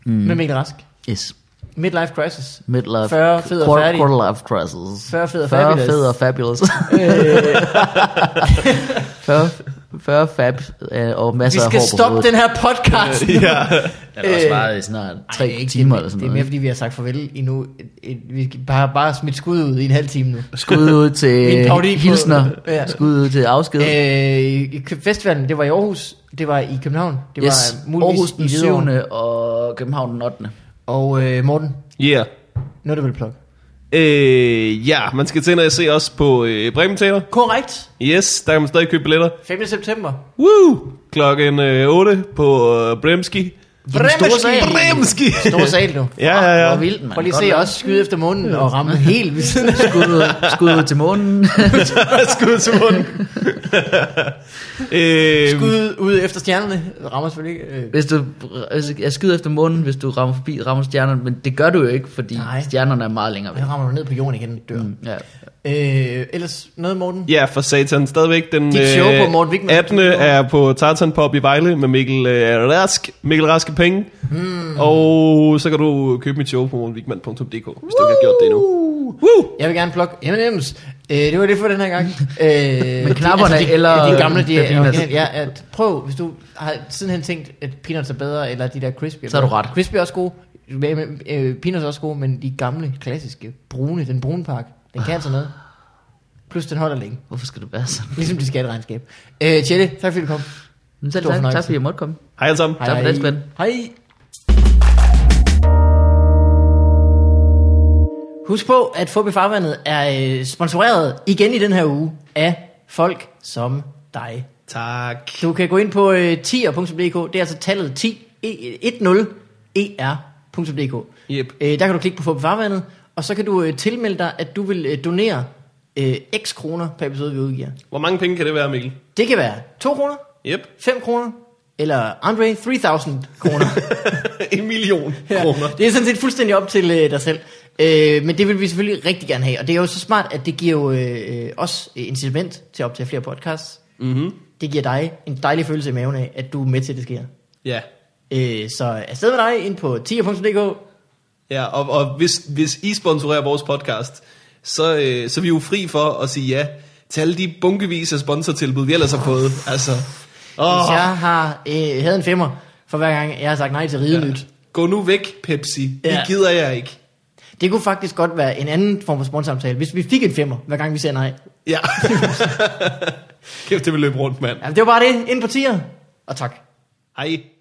mm. med Mikkel Rask.
yes.
Midlife Crisis.
Midlife.
40 fed og
quar-
færdig.
Quarter life crisis.
40 fed og
40
fabulous.
fed og fabulous.
[laughs]
[laughs]
Øh,
40, 40 fab øh, og
vi
masser af hår
skal stoppe øh, den her
[laughs]
[laughs]
podcast.
ja.
Den er også meget i snart tre
Ej, det er ikke-
timer
det,
eller
Det
sådan
er mere,
noget.
fordi vi har sagt farvel endnu. Et, et, vi har bare, bare smidt skud ud i en halv time nu. [laughs]
Skud ud
Vi er en
til
parodi på-
hilsner.
Ja.
Skud ud til afsked.
Øh, i Kø- festivalen, det var i Aarhus, det var i København, det
yes,
var muligvis
Aarhus
i
den 7.
Hvidovre.
og København den 8.
Og øh, Morten,
Yeah.
nu er det vel plug.
Øh, ja, man skal til ind og se os på øh, Bremen Teater.
Korrekt.
Yes, der kan man stadig købe billetter.
5. september.
Woo! Klokken øh, 8 på øh, Bremski.
Bremski.
Bremski!
Stor sal
[laughs]
nu.
ja, ja,
Hvor
ja.
vildt, man.
Prøv lige at se os skyde efter månen og ramme helt ved siden af.
Skud ud, skud ud til månen. [laughs]
Skud til munden.
Øhm.
øh,
Skud ud efter stjernerne. Rammer selvfølgelig ikke. Øh,
hvis du, altså, jeg skyder efter månen, hvis du rammer forbi, rammer stjernerne, men det gør du jo ikke, fordi
Nej.
Nej. stjernerne er meget længere væk.
jeg rammer du ned på jorden igen og dør. Mm.
Ja.
Øh, ellers noget, Morten?
Ja, for satan. Stadigvæk den
Dit show
øh,
på Morten Wigman.
18. er på Tartan Pop i Vejle med Mikkel øh, Rask. Mikkel Rask er penge. Hmm. Og så kan du købe mit show på mortenwigman.dk, hvis du ikke har gjort det endnu. Woo!
Jeg vil gerne plukke M&M's. Øh, det var det for den her gang. Øh,
[laughs] Men knapperne eller-
De, de gamle, de
eller
er
peanuts?
originale. ja, at prøv, hvis du har sidenhen tænkt, at peanuts er bedre, eller de der crispy. er
Så har du
bedre.
ret.
Crispy er også gode. men, øh, Peanuts er også gode, men de gamle, klassiske, brune, den brune pakke, den kan altså noget. Plus den holder længe.
Hvorfor skal du være sådan?
Ligesom dit skatteregnskab. Øh, Tjelle, tak fordi du kom.
Men selv
Stor
tak,
fornøjelse.
tak fordi jeg måtte komme.
Hej alle sammen.
Tak for den, Svend.
Hej. Husk på, at Fubi Farvandet er øh, sponsoreret igen i den her uge af folk som dig.
Tak.
Du kan gå ind på øh, 10er.dk, det er altså tallet 10, e- 10er.dk.
Yep.
Øh, der kan du klikke på Fubi Farvandet, og så kan du øh, tilmelde dig, at du vil øh, donere øh, x kroner per episode, vi udgiver.
Hvor mange penge kan det være, Mikkel?
Det kan være 2 kroner,
Yep.
5 kroner, eller Andre 3000 kroner.
[laughs] en million
Ja,
kroner.
Det er sådan set fuldstændig op til øh, dig selv. Øh, men det vil vi selvfølgelig rigtig gerne have. Og det er jo så smart, at det giver jo øh, øh, os øh, incitament til at optage flere podcasts.
Mm-hmm.
Det giver dig en dejlig følelse i maven af, at du er med til, at det sker.
Ja.
Øh, så afsted med dig ind på 10.dk.
Ja, og, og hvis, hvis I sponsorerer vores podcast, så, øh, så er vi jo fri for at sige ja til alle de bunkevis af sponsortilbud, vi ellers har fået. Altså,
Hvis
åh,
jeg har øh, havde en femmer for hver gang, jeg har sagt nej til ridenyt.
gå nu væk, Pepsi. Ja.
Ja.
Det gider jeg ikke.
Det kunne faktisk godt være en anden form for sponsorsamtale, hvis vi fik en femmer, hver gang vi siger nej.
Ja. Kæft, det vil løbe rundt, mand.
Ja, det var bare det. Ind på tier. Og tak.
Hej.